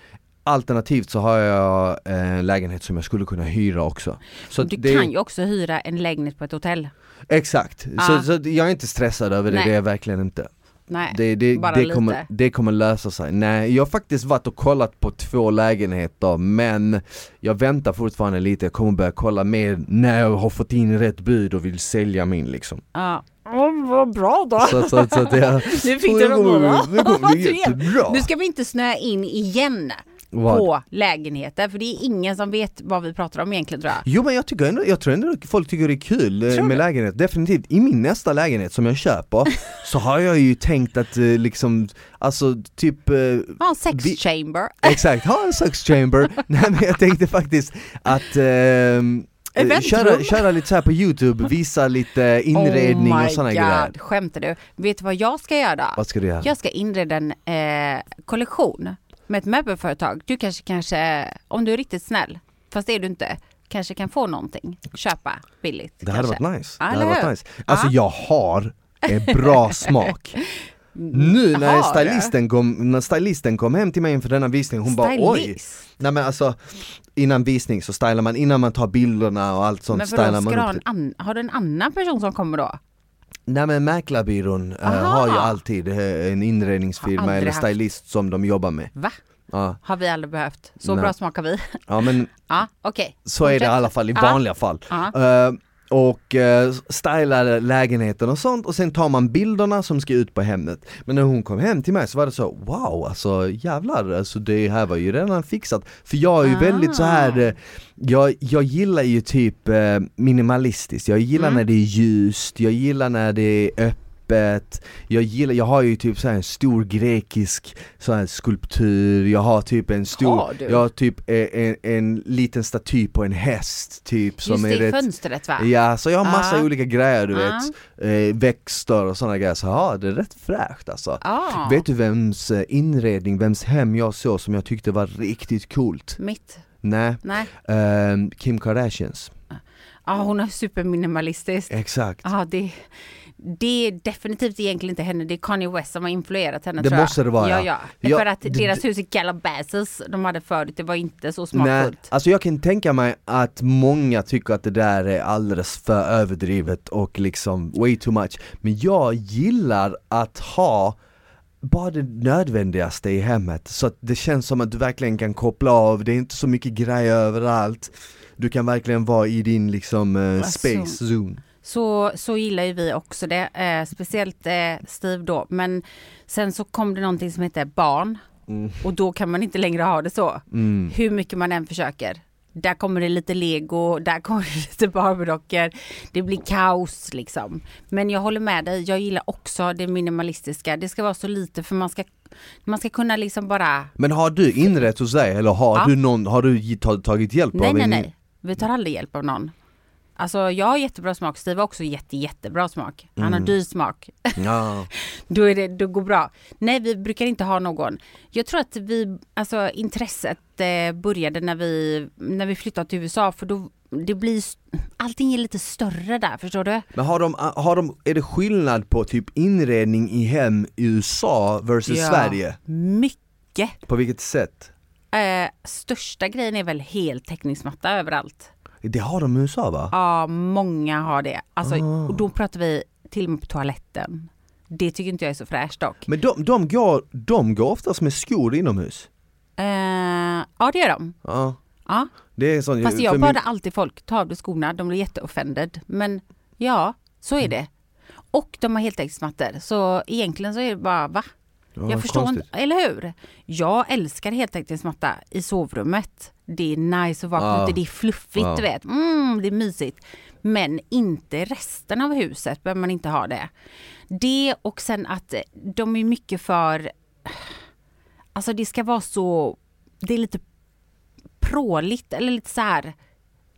Alternativt så har jag eh, en lägenhet som jag skulle kunna hyra också. Så att
Du
det,
kan ju också hyra en lägenhet på ett hotell.
Exakt,
Ah.
så, så att jag är inte stressad över det,
Nej.
det är jag verkligen inte.
Nej.
Det, det,
bara
det,
lite.
kommer, det kommer lösa sig. Nej, jag har faktiskt varit och kollat på två lägenheter men jag väntar fortfarande lite, jag kommer börja kolla mer när jag har fått in rätt bud och vill sälja min liksom.
Ja. Oh, vad bra då!
Så, så, så att jag,
Nu fick du
det
dem båda.
kommer, det kommer bli jättebra!
Nu ska vi inte snöa in igen
Vad?
på lägenheter för det är ingen som vet vad vi pratar om egentligen tror jag.
Jo men jag tycker ändå, jag tror ändå att folk tycker det är kul eh,
Tror du?
med lägenhet, definitivt. I min nästa lägenhet som jag köper så har jag ju tänkt att eh, liksom, alltså typ eh,
Ja, en sex
Vi-
chamber.
Exakt, ha en sex chamber. Nej men jag tänkte faktiskt att ehm, eh,
Eventrum.
köra, köra lite så här på youtube, visa lite inredning
oh my
och sådana
God.
grejer.
Skämtar du? Vet du vad jag ska göra?
Vad ska du göra?
Jag ska inreda en eh, kollektion med ett möbelföretag. Du kanske, kanske, om du är riktigt snäll, fast det är du inte, kanske kan få någonting. Köpa billigt.
Det hade
kanske.
varit nice.
Ja,
det
eller
hade
hur?
varit nice. Alltså
Ja.
jag har en bra smak. Nu när
Mm, Har du?
stylisten, kom, när stylisten kom hem till mig inför denna visning, hon bara oj!
Stylist.
Nej men alltså, innan visning så stylar man, innan man tar bilderna och allt sånt
Men
stylar
vadå, ska
man
du
upp
ha en
det.
an- har du en annan person som kommer då?
Nej men mäklarbyrån eh,
Aha.
har ju alltid eh, en
Har
inredningsfirma
aldrig
eller
haft.
stylist som de jobbar med.
Va?
Ja,
Har vi aldrig behövt. Så
Nej.
bra smakar vi.
ja men
Ja, okej.
så är det i alla fall i vanliga fall.
Ja.
Eh, och eh, stylar lägenheten och sånt och sen tar man bilderna som ska ut på hemmet. Men när hon kom hem till mig så var det så wow alltså jävlar alltså det här var ju redan fixat. För jag är ju
Ah.
väldigt så här eh, jag, jag gillar ju typ eh, minimalistiskt, jag gillar
Mm.
när det är ljust, jag gillar när det är öppet jag gillar, jag har ju typ så här en stor grekisk så här skulptur, jag har typ en stor,
Har du?
jag har typ en, en, en liten staty på en häst typ som
Just
är
det, i
rätt
fönstret va?
Ja, så jag har massa
Ja.
olika grejer du
Ja.
vet, eh, växter och sådana grejer, så ja det är rätt fräscht alltså.
Ja.
Vet du vems eh, inredning, vems hem jag såg som jag tyckte var riktigt coolt?
Mitt?
Nej,
Nej.
ehm, Kim Kardashians.
Ja, hon är superminimalistisk.
Exakt.
Ja, det, det är definitivt egentligen inte henne. Det är Kanye West som har influerat henne
Det
tror jag.
måste det vara,
Ja,
ja.
ja.
Ja,
För att
det-
deras hus i Calabasas de hade förut, det var inte så
Nej,
smakfullt.
alltså jag kan tänka mig att många tycker att det där är alldeles för överdrivet och liksom way too much Men jag gillar att ha bara det nödvändigaste i hemmet så att det känns som att du verkligen kan koppla av, det är inte så mycket grejer överallt Du kan verkligen vara i din liksom eh,
Alltså.
space zone
Så, så gillar ju vi också det, eh, speciellt eh, Steve då. Men sen så kom det någonting som heter barn och då kan man inte längre ha det så. Hur mycket man än försöker. Där kommer det lite lego, där kommer det lite barbiedockor. Det blir kaos liksom. Men jag håller med dig, jag gillar också det minimalistiska. Det ska vara så lite för man ska, man ska kunna liksom bara
Men har du inrett hos dig eller har
Ja.
du någon, har du gi- ta- tagit hjälp
Nej,
av
nej,
en-
nej. Vi tar aldrig hjälp av någon. Alltså jag har jättebra smak, Steve har också jätte, jättebra smak. Han har dyr smak.
Ja.
Då, är det, då går bra. Nej, vi brukar inte ha någon. Jag tror att vi, alltså intresset eh, började när vi, när vi flyttade till USA för då, det blir, s- allting är lite större där, förstår du?
Men har de, har de, är det skillnad på typ inredning i hem i USA versus
Ja.
Sverige?
Mycket.
På vilket sätt?
Eh, största grejen är väl heltäckningsmatta överallt.
Det har de i USA va?
Ja, många har det. Alltså, och då pratar vi till och med på toaletten. Det tycker inte jag är så fräscht dock.
Men de, de, går, de går oftast med skor inomhus.
Eh, ja, det gör de.
Ja,
Ja.
det är sån,
Fast
för
jag
min-
badar alltid folk, ta av dig skorna, de blir jätteoffended. Men ja, så
Mm.
är det. Och de har heltäckningsmattor, så egentligen så är det bara va?
Ja,
jag förstår
konstigt.
inte, eller hur? Jag älskar heltäckningsmatta i sovrummet. det är nice att vakna
Ja.
ute, det är fluffigt
Ja.
du vet. Mm, det är mysigt. Men inte resten av huset behöver man inte ha det. Det och sen att eh, de är mycket för, alltså det ska vara så, det är lite pråligt eller lite så här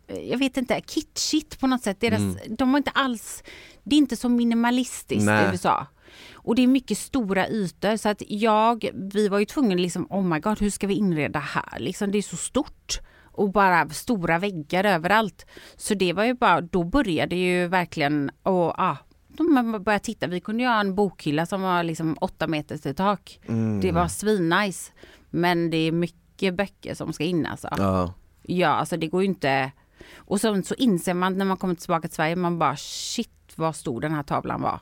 eh, jag vet inte, kitschigt på något sätt. Deras, De har inte alls, det är inte så minimalistiskt
Mm. Nej.
i USA. Och det är mycket stora ytor så att jag, vi var ju tvungna liksom, oh my god, hur ska vi inreda här? Liksom, det är så stort och bara stora väggar överallt. Så det var ju bara, då började ju verkligen, och ah, då man började titta, vi kunde göra en bokhylla som var liksom åtta meter till tak. Det var svinnice. Men det är mycket böcker som ska in alltså.
Ja.
Ja, alltså det går ju inte. Och sen så inser man när man kommer tillbaka till Sverige, man bara shit vad stor den här tavlan var.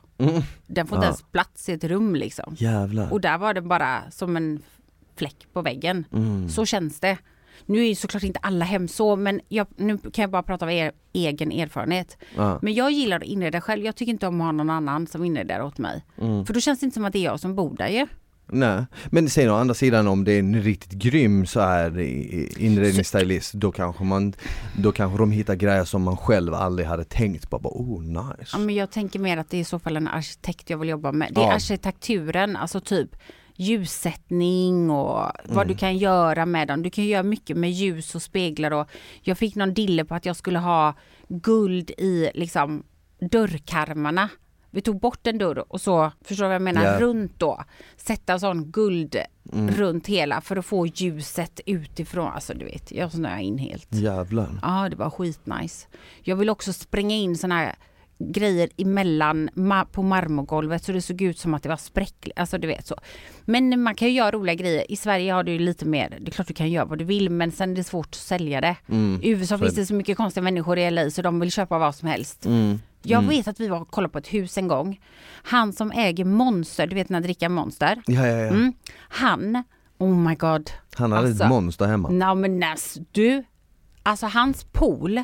Den får inte
Ja.
ens plats i ett rum liksom.
Jävlar.
Och där var den bara som en fläck på väggen. Så känns det. Nu är ju såklart inte alla hem så, men jag, nu kan jag bara prata av er egen erfarenhet.
Ja.
Men jag gillar att inreda själv. Jag tycker inte om att ha någon annan som inreder åt mig. För då känns det inte som att det är jag som bor där ju.
Nej. Men sen å andra sidan om det är en riktigt grym så här i- i- inredningsstylist då kanske man Då kanske de hittar grejer som man själv aldrig hade tänkt på, bara oh
Ja,
nice
men jag tänker mer att det är i så fall en arkitekt jag vill jobba med. Det är
Ja.
arkitekturen, alltså typ ljussättning och vad
Mm.
du kan göra med dem. Du kan ju göra mycket med ljus och speglar och jag fick någon dille på att jag skulle ha guld i liksom dörrkarmarna. Vi tog bort en dörr och så, förstår du vad jag menar,
Ja. Mm.
runt då. Sätta sån guld runt hela för att få ljuset utifrån. Alltså du vet, jag snöade in helt.
Jävlar
Ja, det var skitnice. Jag vill också spränga in såna här grejer emellan ma- på marmorgolvet så det såg ut som att det var spräckligt. Alltså du vet så. Men man kan ju göra roliga grejer. I Sverige har du ju lite mer, det är klart du kan göra vad du vill men sen är det svårt att sälja det. I USA
Mm, så är Mm.
finns det så mycket konstiga människor i LA så de vill köpa vad som helst. Jag vet att vi var och kollade på ett hus en gång. Han som äger Monster, du vet när dricka Monster.
Ja ja ja,
Mm. Han, oh my god.
han hade
Alltså.
ett monster hemma
Nej men näs, du, alltså hans pool,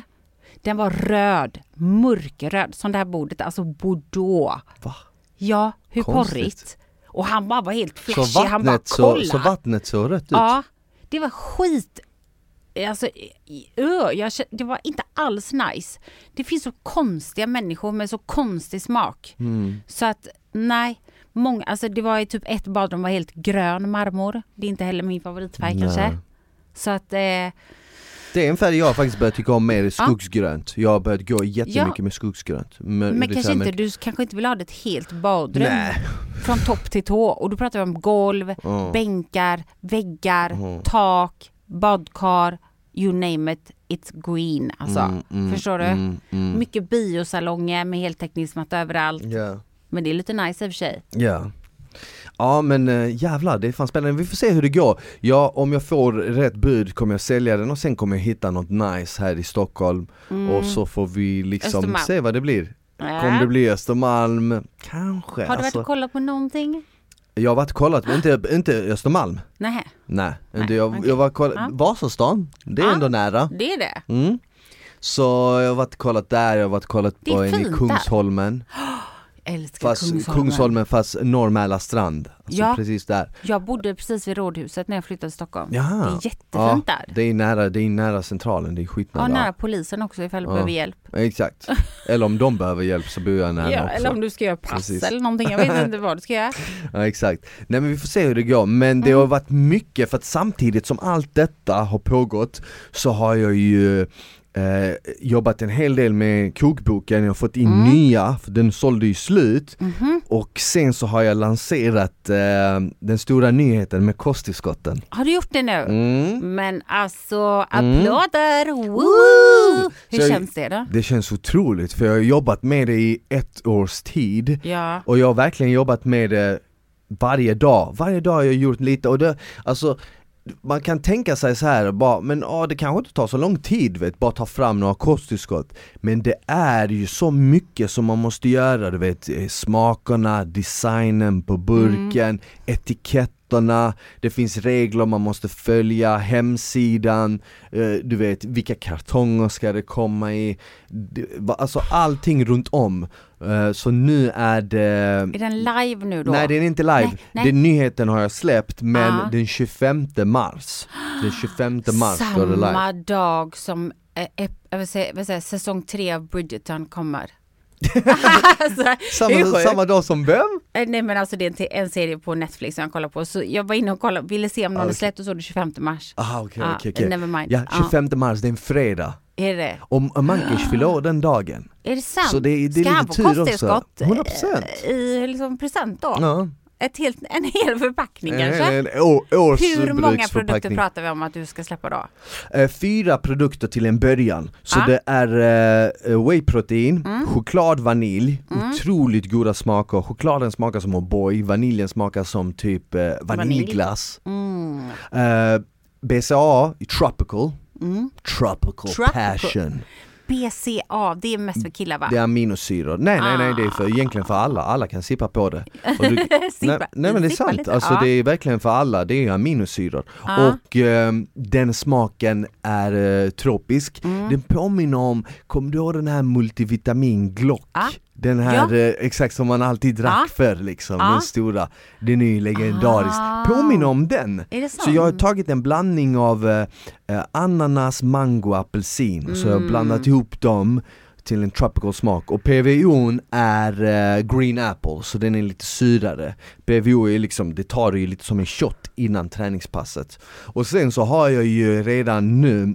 den var röd, mörkröd som det här bordet, alltså bordeaux.
Va?
Ja, hur
Konstigt.
porrigt. Och han bara var helt
Så
flashig, han bara
vattnet, så,
kolla.
så vattnet såg rött ut?
ja, det var skit. Alltså, i- i- ö, jag, kä- det var inte alls nice. Det finns så konstiga människor med så konstig smak.
Mm.
Så att nej, många, alltså det var ju typ ett badrum var helt grön marmor. Det är inte heller min favoritfärg
Nej.
kanske. Så att eh,
Det är en färg jag faktiskt börjat tycka om mer, skogsgrönt Jag har börjat gå jättemycket
Ja.
med skogsgrönt
Men kanske inte,
du
du kanske inte vill ha det ett helt badrum
Nej.
från topp till tå och då pratar vi om golv,
Ja.
bänkar, väggar,
Ja.
tak, badkar, you name it, it's green alltså. Förstår du?
Mm, mm.
Mycket biosalonger med heltäckningsmatta överallt.
Ja.
Men det är lite nice i och för sig.
Ja Ja men äh, jävlar det är fan spännande, vi får se hur det går. Ja om jag får rätt bud kommer jag sälja den och sen kommer jag hitta något nice här i Stockholm och så får vi liksom
Mm. Östermalm.
se vad det blir.
Ja.
Kommer det bli Östermalm? Kanske. Alltså,
Äh. Har du varit och kollat på någonting?
jag har varit och kollat men inte, inte Östermalm.
Nej,
Nej, inte.
Nej,
jag,
okej.
jag var och kollat,
Ja.
Vasastan, det är
Ja.
ändå nära.
det är det.
Mm. Så jag har varit och kollat där, jag har varit och kollat
Det är
på en i
fint där.
Kungsholmen.
Jag älskar
Fast Kungsholmen,
Kungsholmen.
fast Norr strand. Alltså
Ja.
precis där.
Jag bodde precis vid Rådhuset när jag flyttade till Stockholm.
Jaha.
Det är jättefint
ja,
där.
Det är, nära, det är nära centralen, det är skitnära.
Ja, nära polisen också ifall du
Ja.
behöver hjälp.
Exakt. Eller om de behöver hjälp så bor jag nära
Ja,
också.
eller om du ska göra pass
Precis.
eller någonting. Jag vet inte vad du ska göra.
Ja, exakt. Nej men vi får se hur det går, men det har varit mycket för att samtidigt som allt detta har pågått så har jag ju eh, jobbat en hel del med kokboken, jag har fått in nya, för den sålde ju slut
Mm-hmm.
och sen så har jag lanserat eh, den stora nyheten med kosttillskotten.
Har du gjort det nu?
Mm.
Men alltså, applåder! Woo!
Woo!
Hur
Så-
känns det då?
Det känns otroligt för jag har jobbat med det i ett års tid
Ja.
och jag har verkligen jobbat med det varje dag, varje dag har jag gjort lite och det, alltså man kan tänka sig så här, bara, men ja, det kanske inte tar så lång tid vet, bara ta fram några kosttillskott Men det är ju så mycket som man Mm. måste göra, du vet eh, smakerna, designen på burken, etiketten måttena, det finns regler man måste följa, hemsidan, eh, du vet vilka kartonger ska det komma i, Det- va- alltså allting runt om. Eh, Så nu är det
Är den live nu då?
Nej Ah. den är inte live,
Nej, nej.
Den nyheten har jag släppt men
Ja.
den 25 mars Den 25 mars då är det live
Samma dag som eh, ep- jag vill säga, jag vill säga, säsong tre av Bridgerton kommer. alltså, det är
samma,
sjukt.
samma dag som vem?
Eh, Nej men alltså det är en, te- en serie på Netflix som jag kollar på. Så jag var inne och kollade, ville se om någon
Ah,
hade
okej.
släppt och så det 25 mars.
Ah, okej
Ah,
okej okej
never mind.
Ja,
Ah.
25 mars, det är en fredag
Är det?
Och Mankish fyller år den dagen
Är det sant?
Så det är- det är
Ska han
lite
få
tur också.
kosttillskott?
100%.
eh, I liksom present då?
Ja,
Ett helt, en hel förpackning
en,
kanske?
en, en å- års
Hur många produkter
bruksförpackning.
pratar vi om att du ska släppa då?
Eh, Fyra produkter till en början, så
Ah.
det är eh, whey-protein,
Mm.
choklad, vanilj, otroligt goda smaker Chokladen smakar som O'boy, vaniljen smakar som typ eh, vaniljglass
Mm.
Eh, BCA, tropical,
Mm.
tropical,
Tropical. Ah.
passion
BCA, det är mest för killar va?
Det är aminosyror, nej nej nej det är
Ah.
för, egentligen för alla, alla kan sippa på det Och du, nej,
Sippa-
nej men det är
sippa
sant,
lite,
alltså
ja.
det är verkligen för alla, det är aminosyror
Ja.
Och ehm, den smaken är eh, tropisk,
Mm.
den påminner om, kom du ihåg den här multivitamin Glock?
Ja.
Den här, eh, exakt som man alltid drack
Ja.
förr liksom,
Ja.
den stora Den är ju legendarisk,
Ah.
påminner om den!
Är det
Så
sant?
jag har tagit en blandning av eh, eh, ananas, mango, apelsin, så
Mm.
jag har blandat ihop dem till en tropical smak och PVO'n är eh, green apple så den är lite syrare PVO är liksom, det tar du ju lite som en shot innan träningspasset Och sen så har jag ju redan nu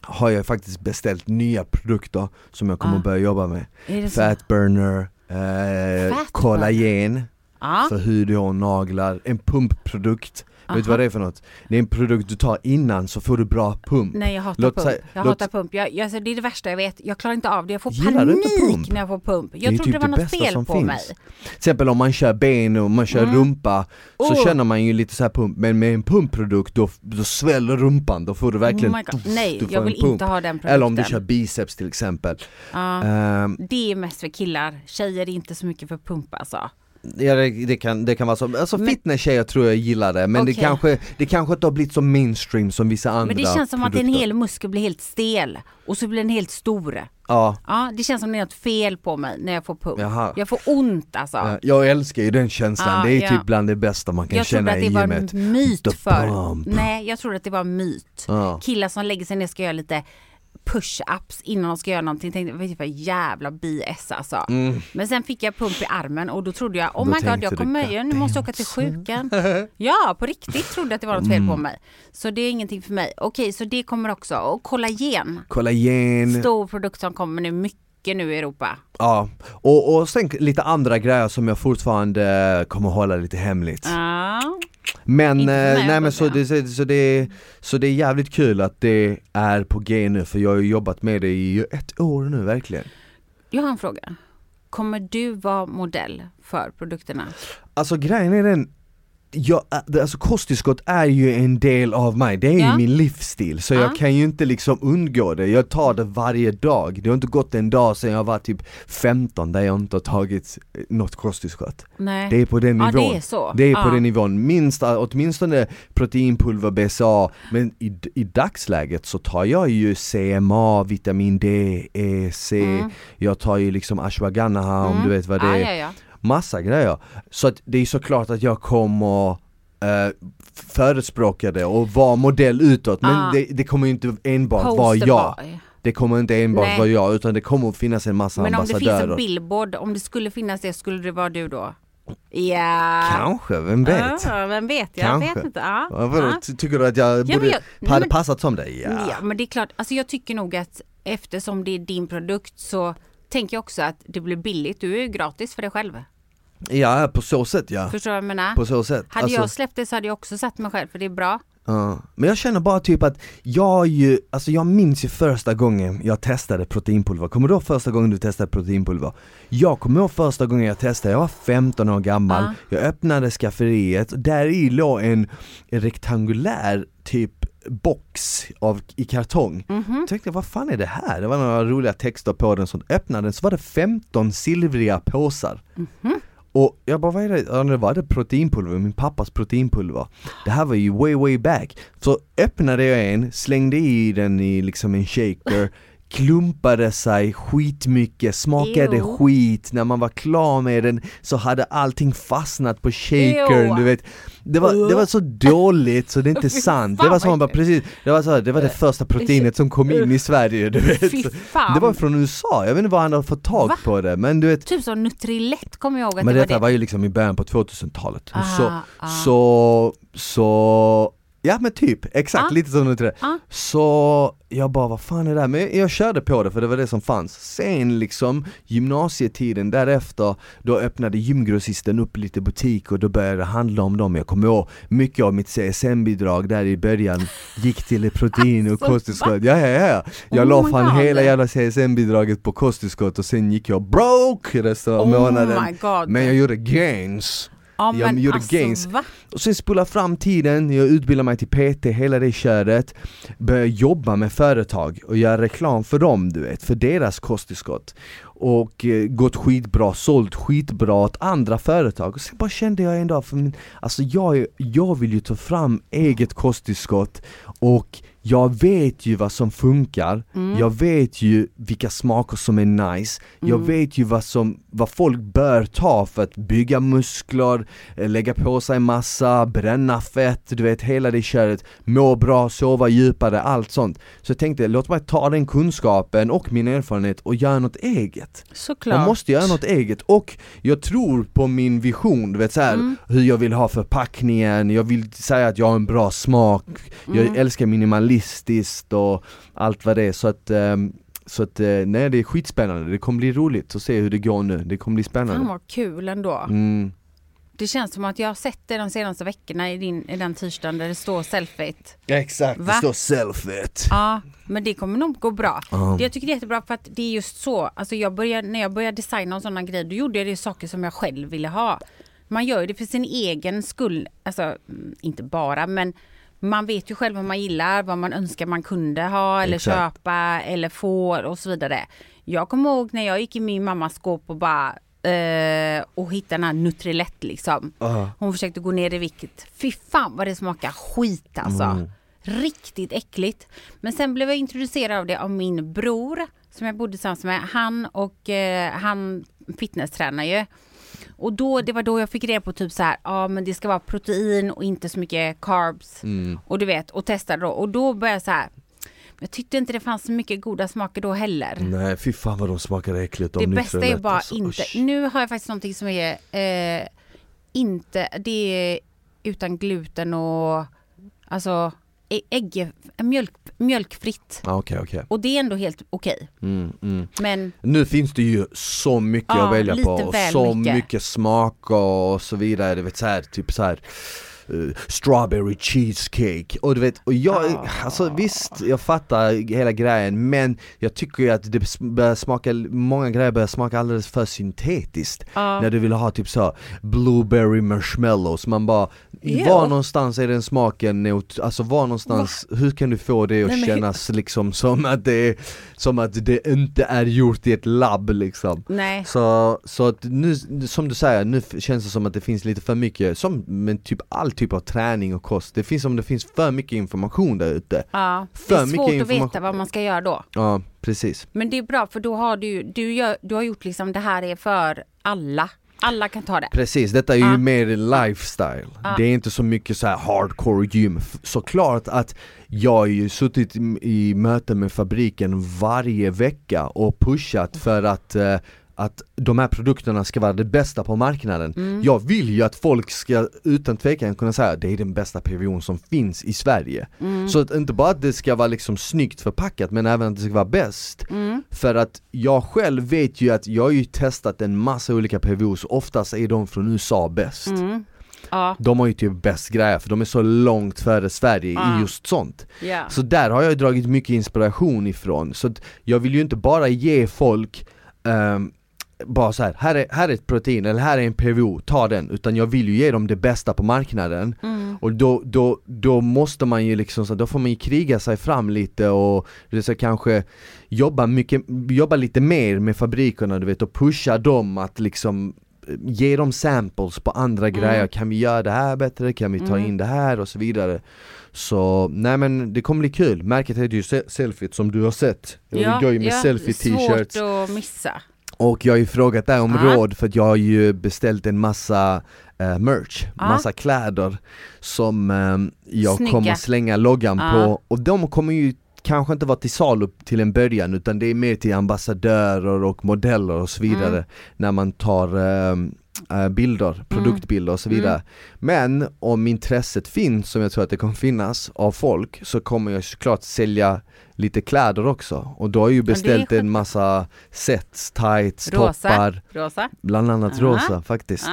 har jag faktiskt beställt nya produkter som jag kommer
Ah.
börja jobba med
Är det så?
Fat burner, eh,
Fat
kollagen
Ja.
för hud, hår, naglar, en pumpprodukt Vet du
Aha.
vad det är för något? Det är en produkt du tar innan så får du bra pump
Nej jag hatar
Låt
pump.
säga-
jag
låt-
hatar pump. Jag, jag, alltså, det är det värsta jag vet. Jag klarar inte av det. Jag får
Gillar du inte
panik
pump?
när jag får pump.
är
Jag
ju
trodde
typ
det var
det
något
bästa
fel på
som finns.
mig.
Till exempel om man kör ben och man kör rumpa så
Mm. Oh.
känner man ju lite så här pump Men med en pumpprodukt då, då sväller rumpan, då får du verkligen
Oh my God.
tuff,
Nej,
du får
jag
en
vill
pump.
inte ha den produkten. Ah.
Eller om du kör biceps till exempel
Ja.
Ehm,
Det är mest för killar. Tjejer är inte så mycket för pump alltså.
Ja det, det, kan, det kan vara så, alltså
Men-
fitness-tjejer tror jag gillar det men det,
Okej.
kanske, det kanske inte har blivit så mainstream som vissa andra
Men det känns som att en
produkter.
hel muskel blir helt stel och så blir den helt stor.
Ja,
Ja, det känns som det är något fel på mig när jag får pump.
Jaha.
Jag får ont alltså.
ja, Eh, jag älskar ju den känslan,
Ja,
det är
Ah, ja.
typ bland det bästa man kan
Jag trodde
känna
att det
i
var
gymmet
en myt
The
förr.
pump.
Nej, jag trodde att det var en myt.
Ja.
Killar som lägger sig ner ska göra lite push-ups innan de ska göra någonting. Tänkte, vad är det för jävla BS alltså. Men sen fick jag pump i armen och då trodde jag, oh
Mm. Då
my god,
tänkte
jag
du,
kommer,
"God
jag nu måste jag åka till sjukan. ja, på riktigt trodde jag att det var något fel på
Mm.
mig. Så det är ingenting för mig. Okej, så det kommer också. Och kollagen,
Kollagen,
stor produkt som kommer nu, mycket nu i Europa.
ja. Och, och sen lite andra grejer som jag fortfarande kommer hålla lite hemligt
Ja,
Men, eh,
Inte för mig,
nej men
hoppas
så
jag.
det, så, så det, så det är jävligt kul att det är på G nu för jag har ju jobbat med det i ett år nu verkligen
jag har en fråga. Kommer du vara modell för produkterna?
Alltså grejen är den jag, det- alltså kosttillskott är ju en del av mig, det är
Ja.
ju min livsstil så
Ja.
jag kan ju inte liksom undgå det, jag tar det varje dag Det har inte gått en dag sedan jag var typ 15 där jag inte har tagit eh, något kosttillskott
Nej.
Det är på den
Ja,
nivån
det är så.
Det är på
Ja.
den nivån, Minst, åtminstone proteinpulver, BCA Men i, i dagsläget så tar jag ju CMA, vitamin D, E, C Jag tar ju liksom ashwagandha om du vet vad det
Mm. ja,
är
ja, ja.
massa grejer. Så att det är såklart att jag kommer eh, förespråka det och vara modell utåt men
Ah.
det, det kommer ju inte enbart
Poster
vara jag.
boy.
Det kommer inte enbart
Nej.
vara jag utan det kommer att finnas en massa
Men om det finns en
ambassadörer.
billboard, om det skulle finnas det, skulle det vara du då? Ja.
Kanske, vem vet?
Ja, vem vet? Jag
Kanske.
vet inte. Ja.
Ja, vadå,
Ja.
ty- Tycker du att jag
men
borde,
jag- nej,
hade
men-
passat som dig? Ja.
Ja, men det är klart. Alltså jag tycker nog att eftersom det är din produkt så tänker jag också att det blir billigt. Du är ju gratis för dig själv.
ja, på så sätt ja.
Förstår du vad jag menar?
På så sätt.
Hade
Alltså-
jag släppt det så hade jag också satt mig själv för det är bra.
Ja, men jag känner bara typ att jag ju, alltså jag minns ju första gången jag testade proteinpulver, kommer du ihåg första gången du testade proteinpulver? Jag kommer ihåg första gången jag testade, jag var 15 år gammal,
Ja.
jag öppnade skafferiet, där i låg en rektangulär typ box av, i kartong. Jag tänkte vad fan är det här? Det var några roliga texter på den, så öppnade den så var det 15 silvriga påsar. Och jag bara, vad är det? Ja, det var det proteinpulver, min pappas proteinpulver. Det här var ju way way back. Så öppnade jag en, slängde i den i liksom en shaker, klumpade sig skitmycket, smakade
Ew.
skit. När man var klar med den så hade allting fastnat på shakern,
Ew.
du vet. Det var, det var så dåligt så det är inte
Fy
sant.
fan,
Det var som
vad Äh.
man bara, precis, det var så här, det var det första proteinet som kom in i Sverige, du vet.
Fy fan.
Det var från USA, jag vet inte var han har fått tag
Va?
på det, men du vet
Typ som Nutrilett kommer jag ihåg att
men
det
detta
var det.
var ju liksom i början på 2000-talet.
Ah,
så,
ah.
så, så, ja men typ, exakt
Ah.
lite som du tror.
Ah.
Så jag bara, vad fan är det här? Men jag, jag körde på det för det var det som fanns. Sen liksom gymnasietiden därefter, då öppnade gymgrossisten upp lite butik och då började det handla om dem. Jag kommer ihåg, mycket av mitt CSN-bidrag där i början gick till protein och
Alltså,
kosttillskott. Ja, ja, ja. Jag
Oh
la
my
fan
God.
hela jävla CSN-bidraget på kosttillskott och sen gick jag broke resten av
Oh
månaden.
my god.
Men jag gjorde gains.
ja, alltså,
jag gjorde gains.
Va?
Och sen spola fram tiden, jag utbildade mig till PT, hela det köret. Började jobba med företag och göra reklam för dem du vet, för deras kosttillskott. Och eh, gått skitbra, sålt skitbra åt andra företag. Och sen bara kände jag en dag, för min, alltså jag, är- jag vill ju ta fram eget kosttillskott och jag vet ju vad som funkar,
Mm,
jag vet ju vilka smaker som är nice, jag vet ju vad, som, vad folk bör ta för att bygga muskler, eh, lägga på sig massa, bränna fett, du vet hela det köret, må bra, sova djupare, allt sånt. Så jag tänkte, låt mig ta den kunskapen och min erfarenhet och göra något eget.
Såklart.
Jag måste göra något eget och jag tror på min vision, du vet så här,
Mm.
hur jag vill ha förpackningen, jag vill säga att jag har en bra smak,
Mm.
jag älskar minimalistiskt och allt vad det är så att ehm, så att eh, nej det är skitspännande, det kommer bli roligt att se hur det går nu, det kommer bli
Fan
spännande.
vad kul ändå.
Mm.
Det känns som att jag har sett det de senaste veckorna i, din, i den tisdagen där det står selfie.
Exakt,
Va?
det står selfet.
Ja, men det kommer nog gå bra.
Ja.
Det jag tycker det är jättebra för att det är just så. Alltså jag började, när jag började designa och sådana grejer, då gjorde jag det saker som jag själv ville ha. Man gör ju det för sin egen skull. Alltså, mm, inte bara, men man vet ju själv vad man gillar, vad man önskar man kunde ha eller
Exakt.
köpa eller få och så vidare. Jag kommer ihåg när jag gick i min mammas skåp och bara eh, och hittade den här Nutrilett liksom.
Ja.
Hon försökte gå ner i vikt. Fy fan vad det smakar skit alltså. Riktigt äckligt. Men sen blev jag introducerad av det av min bror som jag bodde tillsammans med. Han och eh, han fitnesstränar ju. Och då, det var då jag fick reda på typ så här, ja men det ska vara protein och inte så mycket carbs.
Mm.
Och du vet, och testade då. Och då började jag så här, jag tyckte inte det fanns så mycket goda smaker då heller.
Nej fy fan vad de smakar äckligt om
Mm. Det
ni
bästa är
tror
ju
att-
bara
alltså,
inte,
usch.
nu har jag faktiskt någonting som är eh, inte, det är utan gluten och alltså ä- ägg, mjölk, mjölkfritt.
Ja, Ah, Okej okej.
Och det är ändå helt okej.
Mm, mm.
Men
Nu finns det ju så mycket
Ja,
att välja
lite
på och
väl
så mycket,
mycket.
smaker och så vidare, du vet så här, typ så här eh, strawberry cheesecake och du vet, och jag, alltså visst jag fattar hela grejen men jag tycker ju att det s- börjar smaka, många grejer börjar smaka alldeles för syntetiskt
Ja.
När du vill ha typ så blueberry marshmallows, man bara,
Ew.
var någonstans är den smaken, neut- alltså var någonstans, hur kan du få det att
Nej, men hur-
kännas liksom som att det är som att det inte är gjort i ett labb liksom.
nej,
Så, så att nu, som du säger, nu f- känns det som att det finns lite för mycket, som men typ all typ av träning och kost, det finns som det finns för mycket information där ute.
ja, det
För
är
mycket
svårt att
information.
veta vad man ska göra då.
Ja, precis.
Men det är bra för då har du, du, gör, du har gjort liksom det här är för alla. Alla kan ta det.
Precis, detta är ju
Ah.
mer lifestyle. Det är inte så mycket så här hardcore gym. F- Såklart att jag har ju suttit i- i möten med fabriken varje vecka och pushat för att eh, att de här produkterna ska vara det bästa på marknaden. Jag vill ju att folk ska utan tvekan kunna säga det är den bästa PVOn som finns i Sverige. Så att inte bara att det ska vara liksom snyggt förpackat men även att det ska vara bäst. För att jag själv vet ju att jag har ju testat en massa olika PVOs, oftast är de från USA bäst.
Mm. Ja,
De har ju typ bäst grejer för de är så långt före Sverige i
Ah.
just sånt.
ja.
Så där har jag dragit mycket inspiration ifrån, så att jag vill ju inte bara ge folk ehm, bara så här, här är, här är ett protein eller här är en PVO, ta den, utan jag vill ju ge dem det bästa på marknaden
Mm.
och då, då, då måste man ju liksom, så, då får man ju kriga sig fram lite och det är så kanske jobba, mycket, jobba lite mer med fabrikerna du vet och pusha dem att liksom ge dem samples på andra grejer, kan vi göra det här bättre, kan vi ta in det här och så vidare Så nej men det kommer bli kul, märket heter ju Se- Selfit som du har sett Jag ja, går ju med selfie t-shirts
Svårt att missa.
och jag har ju frågat dig om
Ja.
råd för att jag har ju beställt en massa eh, merch,
Ja.
massa kläder som eh, jag
Snygga.
kommer slänga loggan
Ja.
på och de kommer ju kanske inte vara till salu till en början utan det är mer till ambassadörer och modeller och så vidare
Mm.
när man tar ehm, eh, bilder, produktbilder och så vidare.
Mm.
Men om intresset finns, som jag tror att det kommer finnas, av folk så kommer jag såklart sälja lite kläder också och då har jag ju
det är
beställt
skönt.
en massa sets, tights,
Rosa.
toppar,
Rosa.
bland annat
Ja.
rosa faktiskt.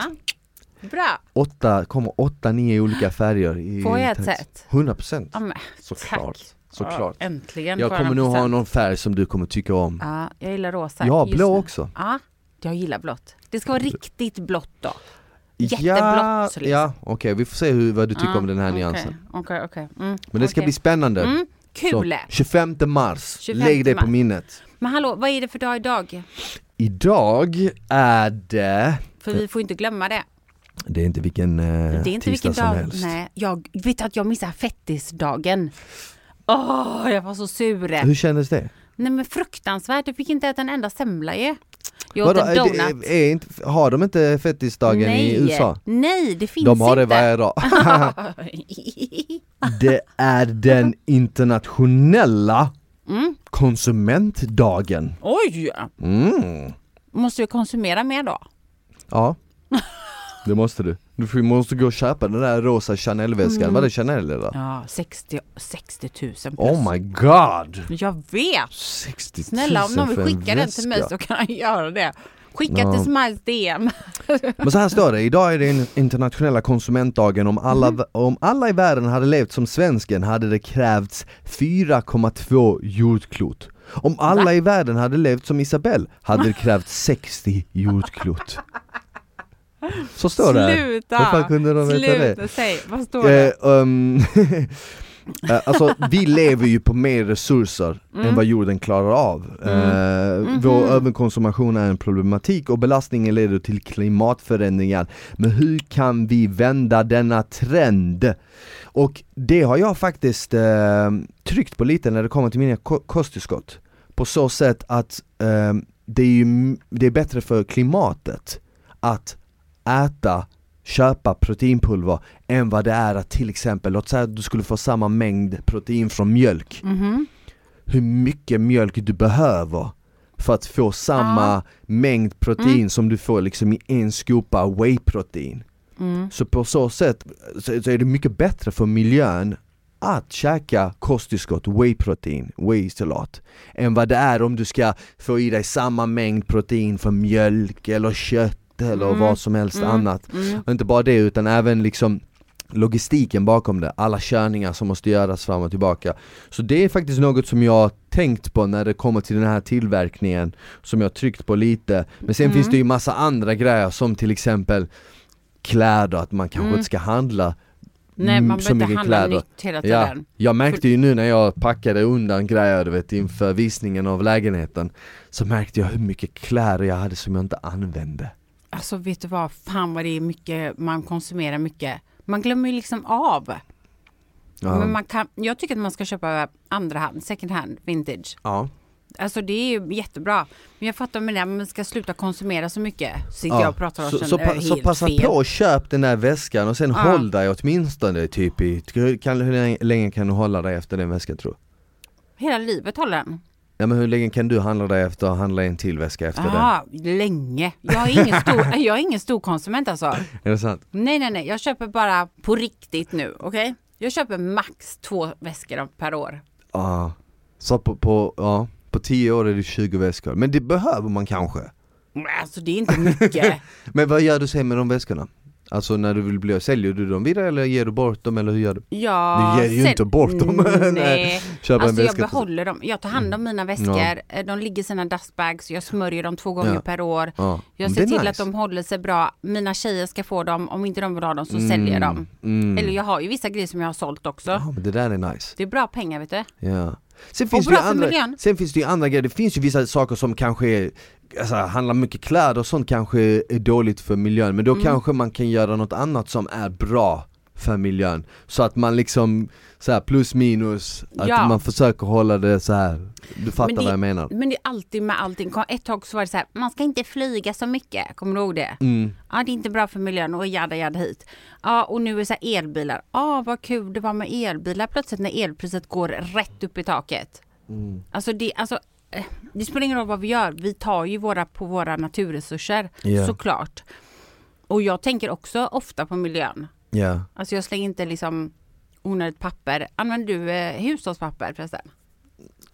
Ja. Bra.
Åtta, kommer åtta, nio olika färger i
Får jag ett
tights.
set?
100%
Ja, men,
såklart.
tack.
Såklart.
Ja, äntligen.
Jag
får
kommer nog ha
100%.
någon färg som du kommer tycka om.
Ja, jag gillar rosa.
Jag har
just
blå
nu.
också.
Ja, jag gillar blått. Det ska vara riktigt blått då.
ja,
Jätteblått, liksom.
ja okej vi får se hur, vad du tycker
Ja,
om den här
okej,
nyansen.
Okej, okej. Mm,
Men det ska
okej.
bli spännande.
Mm, kul!
Så, 25 mars,
25
lägg dig på
mars.
minnet.
Men hallå, vad är det för dag idag?
Idag är det,
För vi får inte glömma det.
det är inte vilken eh,
Det är
tisdag
inte vilken
som
dag.
helst.
Nej, jag vet att jag missar fettisdagen. Åh, jag var så sur.
Hur kändes det?
Nej men fruktansvärt, jag fick inte äta en enda semla ju. Jag åt
Vadå,
en
är det-
donut.
är inte, har de inte fettisdagen i USA?
Nej, det finns
De har
inte.
det varje dag. det är den internationella
Mm.
konsumentdagen.
Oj!
Mm.
Måste jag konsumera mer då?
Ja Det måste du Du får- måste gå och köpa den där rosa Chanel-väskan, var det Chanel eller?
Mm. Ja, 60, 60 000 plus.
Oh my god!
Jag vet!
60 000
Snälla om någon vill
för en
skicka den till mig
väska.
så kan jag göra det. Skicka
Ja.
till Smiles DM.
Men så här står det, idag är den internationella konsumentdagen om alla,
Mhm.
om alla i världen hade levt som svensken hade det krävts 4,2 jordklot Om alla i världen hade levt som Isabelle hade det krävts 60 jordklot Så står det här.
Sluta!
Hur fan kunde de veta det?
Sluta, säg. Vad står det?
Eh, ehm, eh, alltså vi lever ju på mer resurser än vad jorden klarar av. Eh, Vår överkonsumtion är en problematik och belastningen leder till klimatförändringar. Men hur kan vi vända denna trend? Och det har jag faktiskt eh, tryckt på lite när det kommer till mina ko- kosttillskott. På så sätt att eh, det, är ju, m- det är bättre för klimatet att äta, köpa proteinpulver än vad det är att till exempel, låt säga att du skulle få samma mängd protein från mjölk.
Mhm.
Hur mycket mjölk du behöver för att få samma mängd protein som du får liksom i en skopa whey-protein.
Mm.
Så på så sätt så, så är det mycket bättre för miljön att käka kosttillskott, whey-protein, whey-isolat än vad det är om du ska få i dig samma mängd protein från mjölk eller kött eller
Mm.
vad som helst
Mm.
annat.
Mm.
Och inte bara det utan även liksom logistiken bakom det, alla körningar som måste göras fram och tillbaka. Så det är faktiskt något som jag har tänkt på när det kommer till den här tillverkningen som jag har tryckt på lite. Men sen
Mm.
finns det ju massa andra grejer som till exempel kläder, att man kanske inte ska handla
Mm. Nej,
mm,
man
så
behöver inte
mycket
handla
kläder.
nytt hela
Ja,
tiden.
jag märkte ju nu när jag packade undan grejer du vet inför visningen av lägenheten Så märkte jag hur mycket kläder jag hade som jag inte använde
Alltså vet du vad, fan vad det är mycket, man konsumerar mycket. Man glömmer ju liksom av.
Ja,
Men man kan, jag tycker att man ska köpa andra hand, second hand, vintage.
ja.
Alltså det är ju jättebra. Men jag fattar med det, man ska sluta konsumera så mycket. Så sitter
Ja,
jag och pratar och
så,
känner
så, pa-
helt
så passa
fel.
på och köp den där väskan och sen
Ja.
håll dig åtminstone typ i, kan, hur länge, länge kan du hålla dig efter den väskan tror du?
Hela livet håller den.
Ja men hur länge kan du handla dig efter och handla en till väska efter
Ja, länge. Jag är ingen stor, jag är ingen stor konsument alltså.
den? Är det sant?
Nej, nej, nej. Jag köper bara på riktigt nu, okej? Jag köper max två väskor per år.
Ja. Så på, på, ja, på 10 år är det 20 väskor, men det behöver man kanske?
Men Alltså det är inte mycket.
Men vad gör du sen med de väskorna? Alltså när du vill bli, säljer du dem vidare eller ger du bort dem eller hur gör du?
Ja,
Du ger ju
sen- Mm,
inte bort dem. Nej.
Nej.
Köpa
Alltså
en
jag
väska Mm.
behåller dem. Jag tar hand om mina väskor. Eh, De ligger i sina dustbags. Jag smörjer dem två gånger
Ja.
per år.
Ja.
Jag
Men
ser
det är
till
nice.
att de håller sig bra. Mina tjejer ska få dem. Om inte de vill ha dem så säljer jag dem.
Mm.
Eller jag har ju vissa grejer som jag har sålt också.
Ja men det där är nice
Det är bra pengar vet du.
Ja. Sen finns, det
bra
ju
för
andra,
miljön.
sen finns det ju andra grejer, det finns ju vissa saker som kanske är alltså, handla mycket kläder och sånt kanske är dåligt för miljön
Mm.
men då kanske man kan göra något annat som är bra för miljön så att man liksom så här plus minus, att
Ja.
man försöker hålla det så här. du fattar
Men det-
vad jag menar?
Men det är alltid med allting. Kom- Ett tag så var det så här, man ska inte flyga så mycket. Kommer du ihåg det?
Mm.
Ja, det är inte bra för miljön och jada jada hit. Ja, och nu är det så här elbilar. Ja, vad kul det var med elbilar plötsligt när elpriset går rätt upp i taket.
Mm.
Alltså, det, alltså, eh, det spelar ingen roll vad vi gör. Vi tar ju våra på våra naturresurser
Ja.
såklart. Och jag tänker också ofta på miljön.
Ja,
Alltså jag slänger inte liksom onödigt papper. Använder du eh, hushållspapper förresten?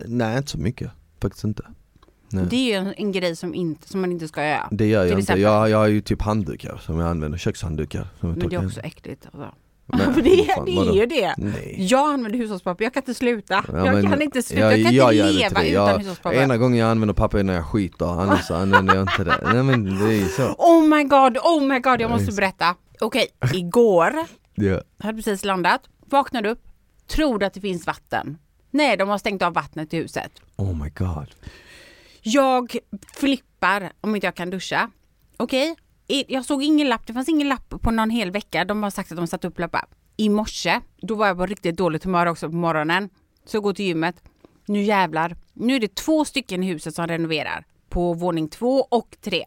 nej inte så mycket, faktiskt inte Nej.
Det är ju en, en grej som, inte, som man inte ska göra.
Det gör
Till
jag inte,
exempel.
jag, jag har ju typ handdukar som jag använder, kökshanddukar som jag
Men det
torkar
är
in.
också äckligt. Alltså.
Men,
För det,
fan,
det
vadå?
är ju det.
Nej
Jag använder hushållspapper, jag kan inte sluta.
Ja,
jag
men-
kan inte sluta,
ja,
jag kan
jag gör
inte
inte
leva
det.
utan
Jag-
hushållspapper.
Ena gången jag använder papper är när jag skiter, annars så använder jag inte det. Nej men det är ju så.
Oh my god, oh my god, jag måste berätta. Okej, igår
Ja.
Jag hade precis landat, vaknade upp, trodde att det finns vatten. Nej, de har stängt av vattnet i huset.
Oh my god.
Jag flippar om inte jag kan duscha. Okej, I- jag såg ingen lapp, det fanns ingen lapp på någon hel vecka. De har sagt att de satt upp lappar. I morse, då var jag på riktigt dåligt humör också på morgonen. Så jag går till gymmet. Nu jävlar. Nu är det två stycken i huset som renoverar. På våning två och tre.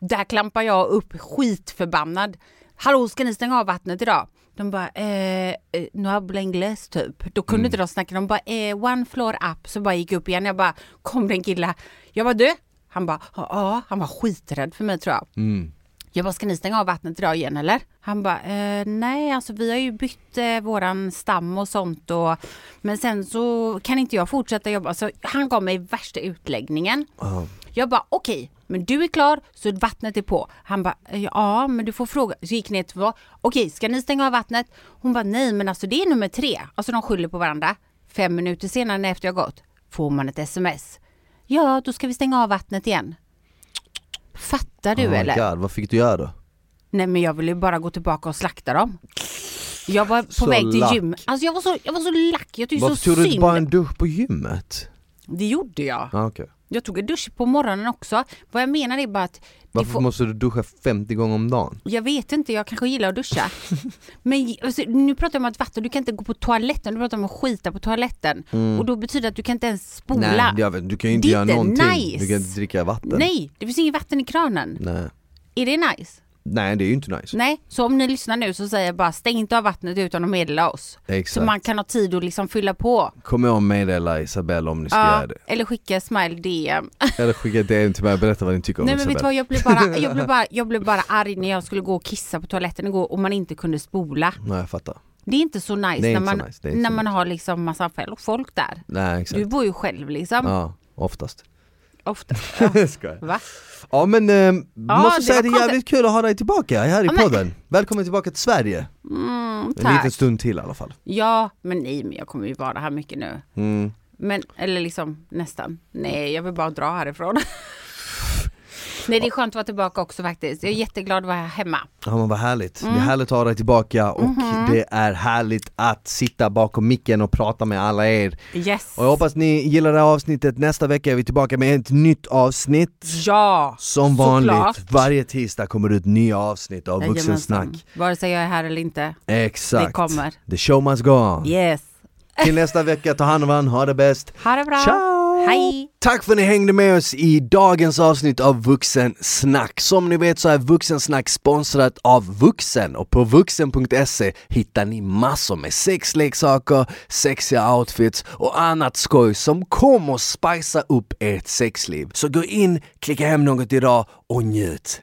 Där klampar jag upp skitförbannad. Hallå ska ni stänga av vattnet idag? De bara eh, eh, no hablenglés typ. Då kunde inte de snacka. De bara eh, one floor up. Så bara gick jag upp igen. Jag bara kom den kille. Jag bara du? Han bara ja. ja." Han var skiträdd för mig tror jag.
Mm.
Jag bara, ska ni stänga av vattnet idag igen eller? Han bara, eh, nej alltså vi har ju bytt eh, våran stam och sånt och men sen så kan inte jag fortsätta jobba. Så han gav mig värsta utläggningen.
Ja.
Jag bara, okej, men du är klar så vattnet är på. Han bara, eh, ja men du får fråga. Så gick ner till vad? Okej, ska ni stänga av vattnet? Hon bara, nej men alltså det är nummer tre. Alltså de skyller på varandra. Fem minuter senare när efter jag gått får man ett sms. Ja, då ska vi stänga av vattnet igen. Fattar du
oh my
eller?
god, vad fick du göra då?
Nej men jag ville ju bara gå tillbaka och slakta dem. Jag var på
Så
väg till
lack.
gym. Alltså jag var så, jag var så lack, jag tyckte
Varför
så
tog du
synd.
inte bara en dusch på gymmet?
Det gjorde jag.
Ah, okay.
Jag tog en dusch på morgonen också. Vad jag menar är bara att det
Varför
får,
måste du duscha 50 gånger om dagen?
jag vet inte, jag kanske gillar att duscha. men alltså, nu pratar jag om att vatten, du kan inte gå på toaletten, du pratar om att skita på toaletten. Och då betyder det att du kan inte ens spola.
Mm. Nej, jag vet, du kan ju inte
Det är
göra
inte
någonting.
nice.
Du kan inte dricka vatten.
Nej, det finns inget vatten i kranen.
Nej.
Är det nice?
Nej, det är ju inte nice.
Nej, så om ni lyssnar nu så säger jag bara stäng inte av vattnet utan att meddela oss. Så
Exakt.
man kan ha tid att liksom fylla på.
Kom ihåg att meddela Isabelle om ni ska
Ja,
göra det.
eller skicka smile DM.
Eller skicka ett DM till mig och berätta vad ni tycker om
Nej men vet
Isabelle.
du vad, jag blev, bara, jag, blev bara, jag blev bara arg när jag skulle gå och kissa på toaletten igår och man inte kunde spola.
Nej jag fattar.
Det är inte så nice
Det är
när
inte så
man,
nice, det är inte
när
så
man har liksom massa fel- folk där.
Nej exakt.
Du bor ju själv liksom.
Ja, oftast.
Ofta. Ja,
Skojar.
va?
Ja men, eh, måste
det
säga
var
det är
konstigt.
jävligt kul att ha dig tillbaka här i
Ja, men-
podden. Välkommen tillbaka till Sverige.
Mm,
En liten
tack.
stund till i alla fall.
Ja, men nej, men jag kommer ju vara här mycket nu.
Mm.
Men, eller liksom nästan. Nej, jag vill bara dra härifrån. nej, det är skönt att vara tillbaka också faktiskt. Jag är jätteglad att vara hemma.
Ja men vad härligt.
Mm.
Det är härligt att ha dig tillbaka och
Mm-hmm.
det är härligt att sitta bakom micken och prata med alla er.
Yes.
Och jag hoppas ni gillar det här avsnittet. Nästa vecka är vi tillbaka med ett nytt avsnitt.
Ja,
Som vanligt,
såklart.
varje tisdag kommer det ett nytt avsnitt av
Jajamensan.
Vuxensnack.
Vare sig jag är här eller inte.
Exakt.
Det kommer.
The show must go on.
Yes.
Till nästa vecka, ta hand om varandra, ha det bäst.
Ha det bra.
Ciao!
Hej!
Tack för att ni hängde med oss i dagens avsnitt av Vuxensnack. Som ni vet så är Vuxensnack sponsrat av Vuxen och på vuxen.se hittar ni massor med sexleksaker, sexiga outfits och annat skoj som kommer att spicea upp ert sexliv. Så gå in, klicka hem något idag och njut.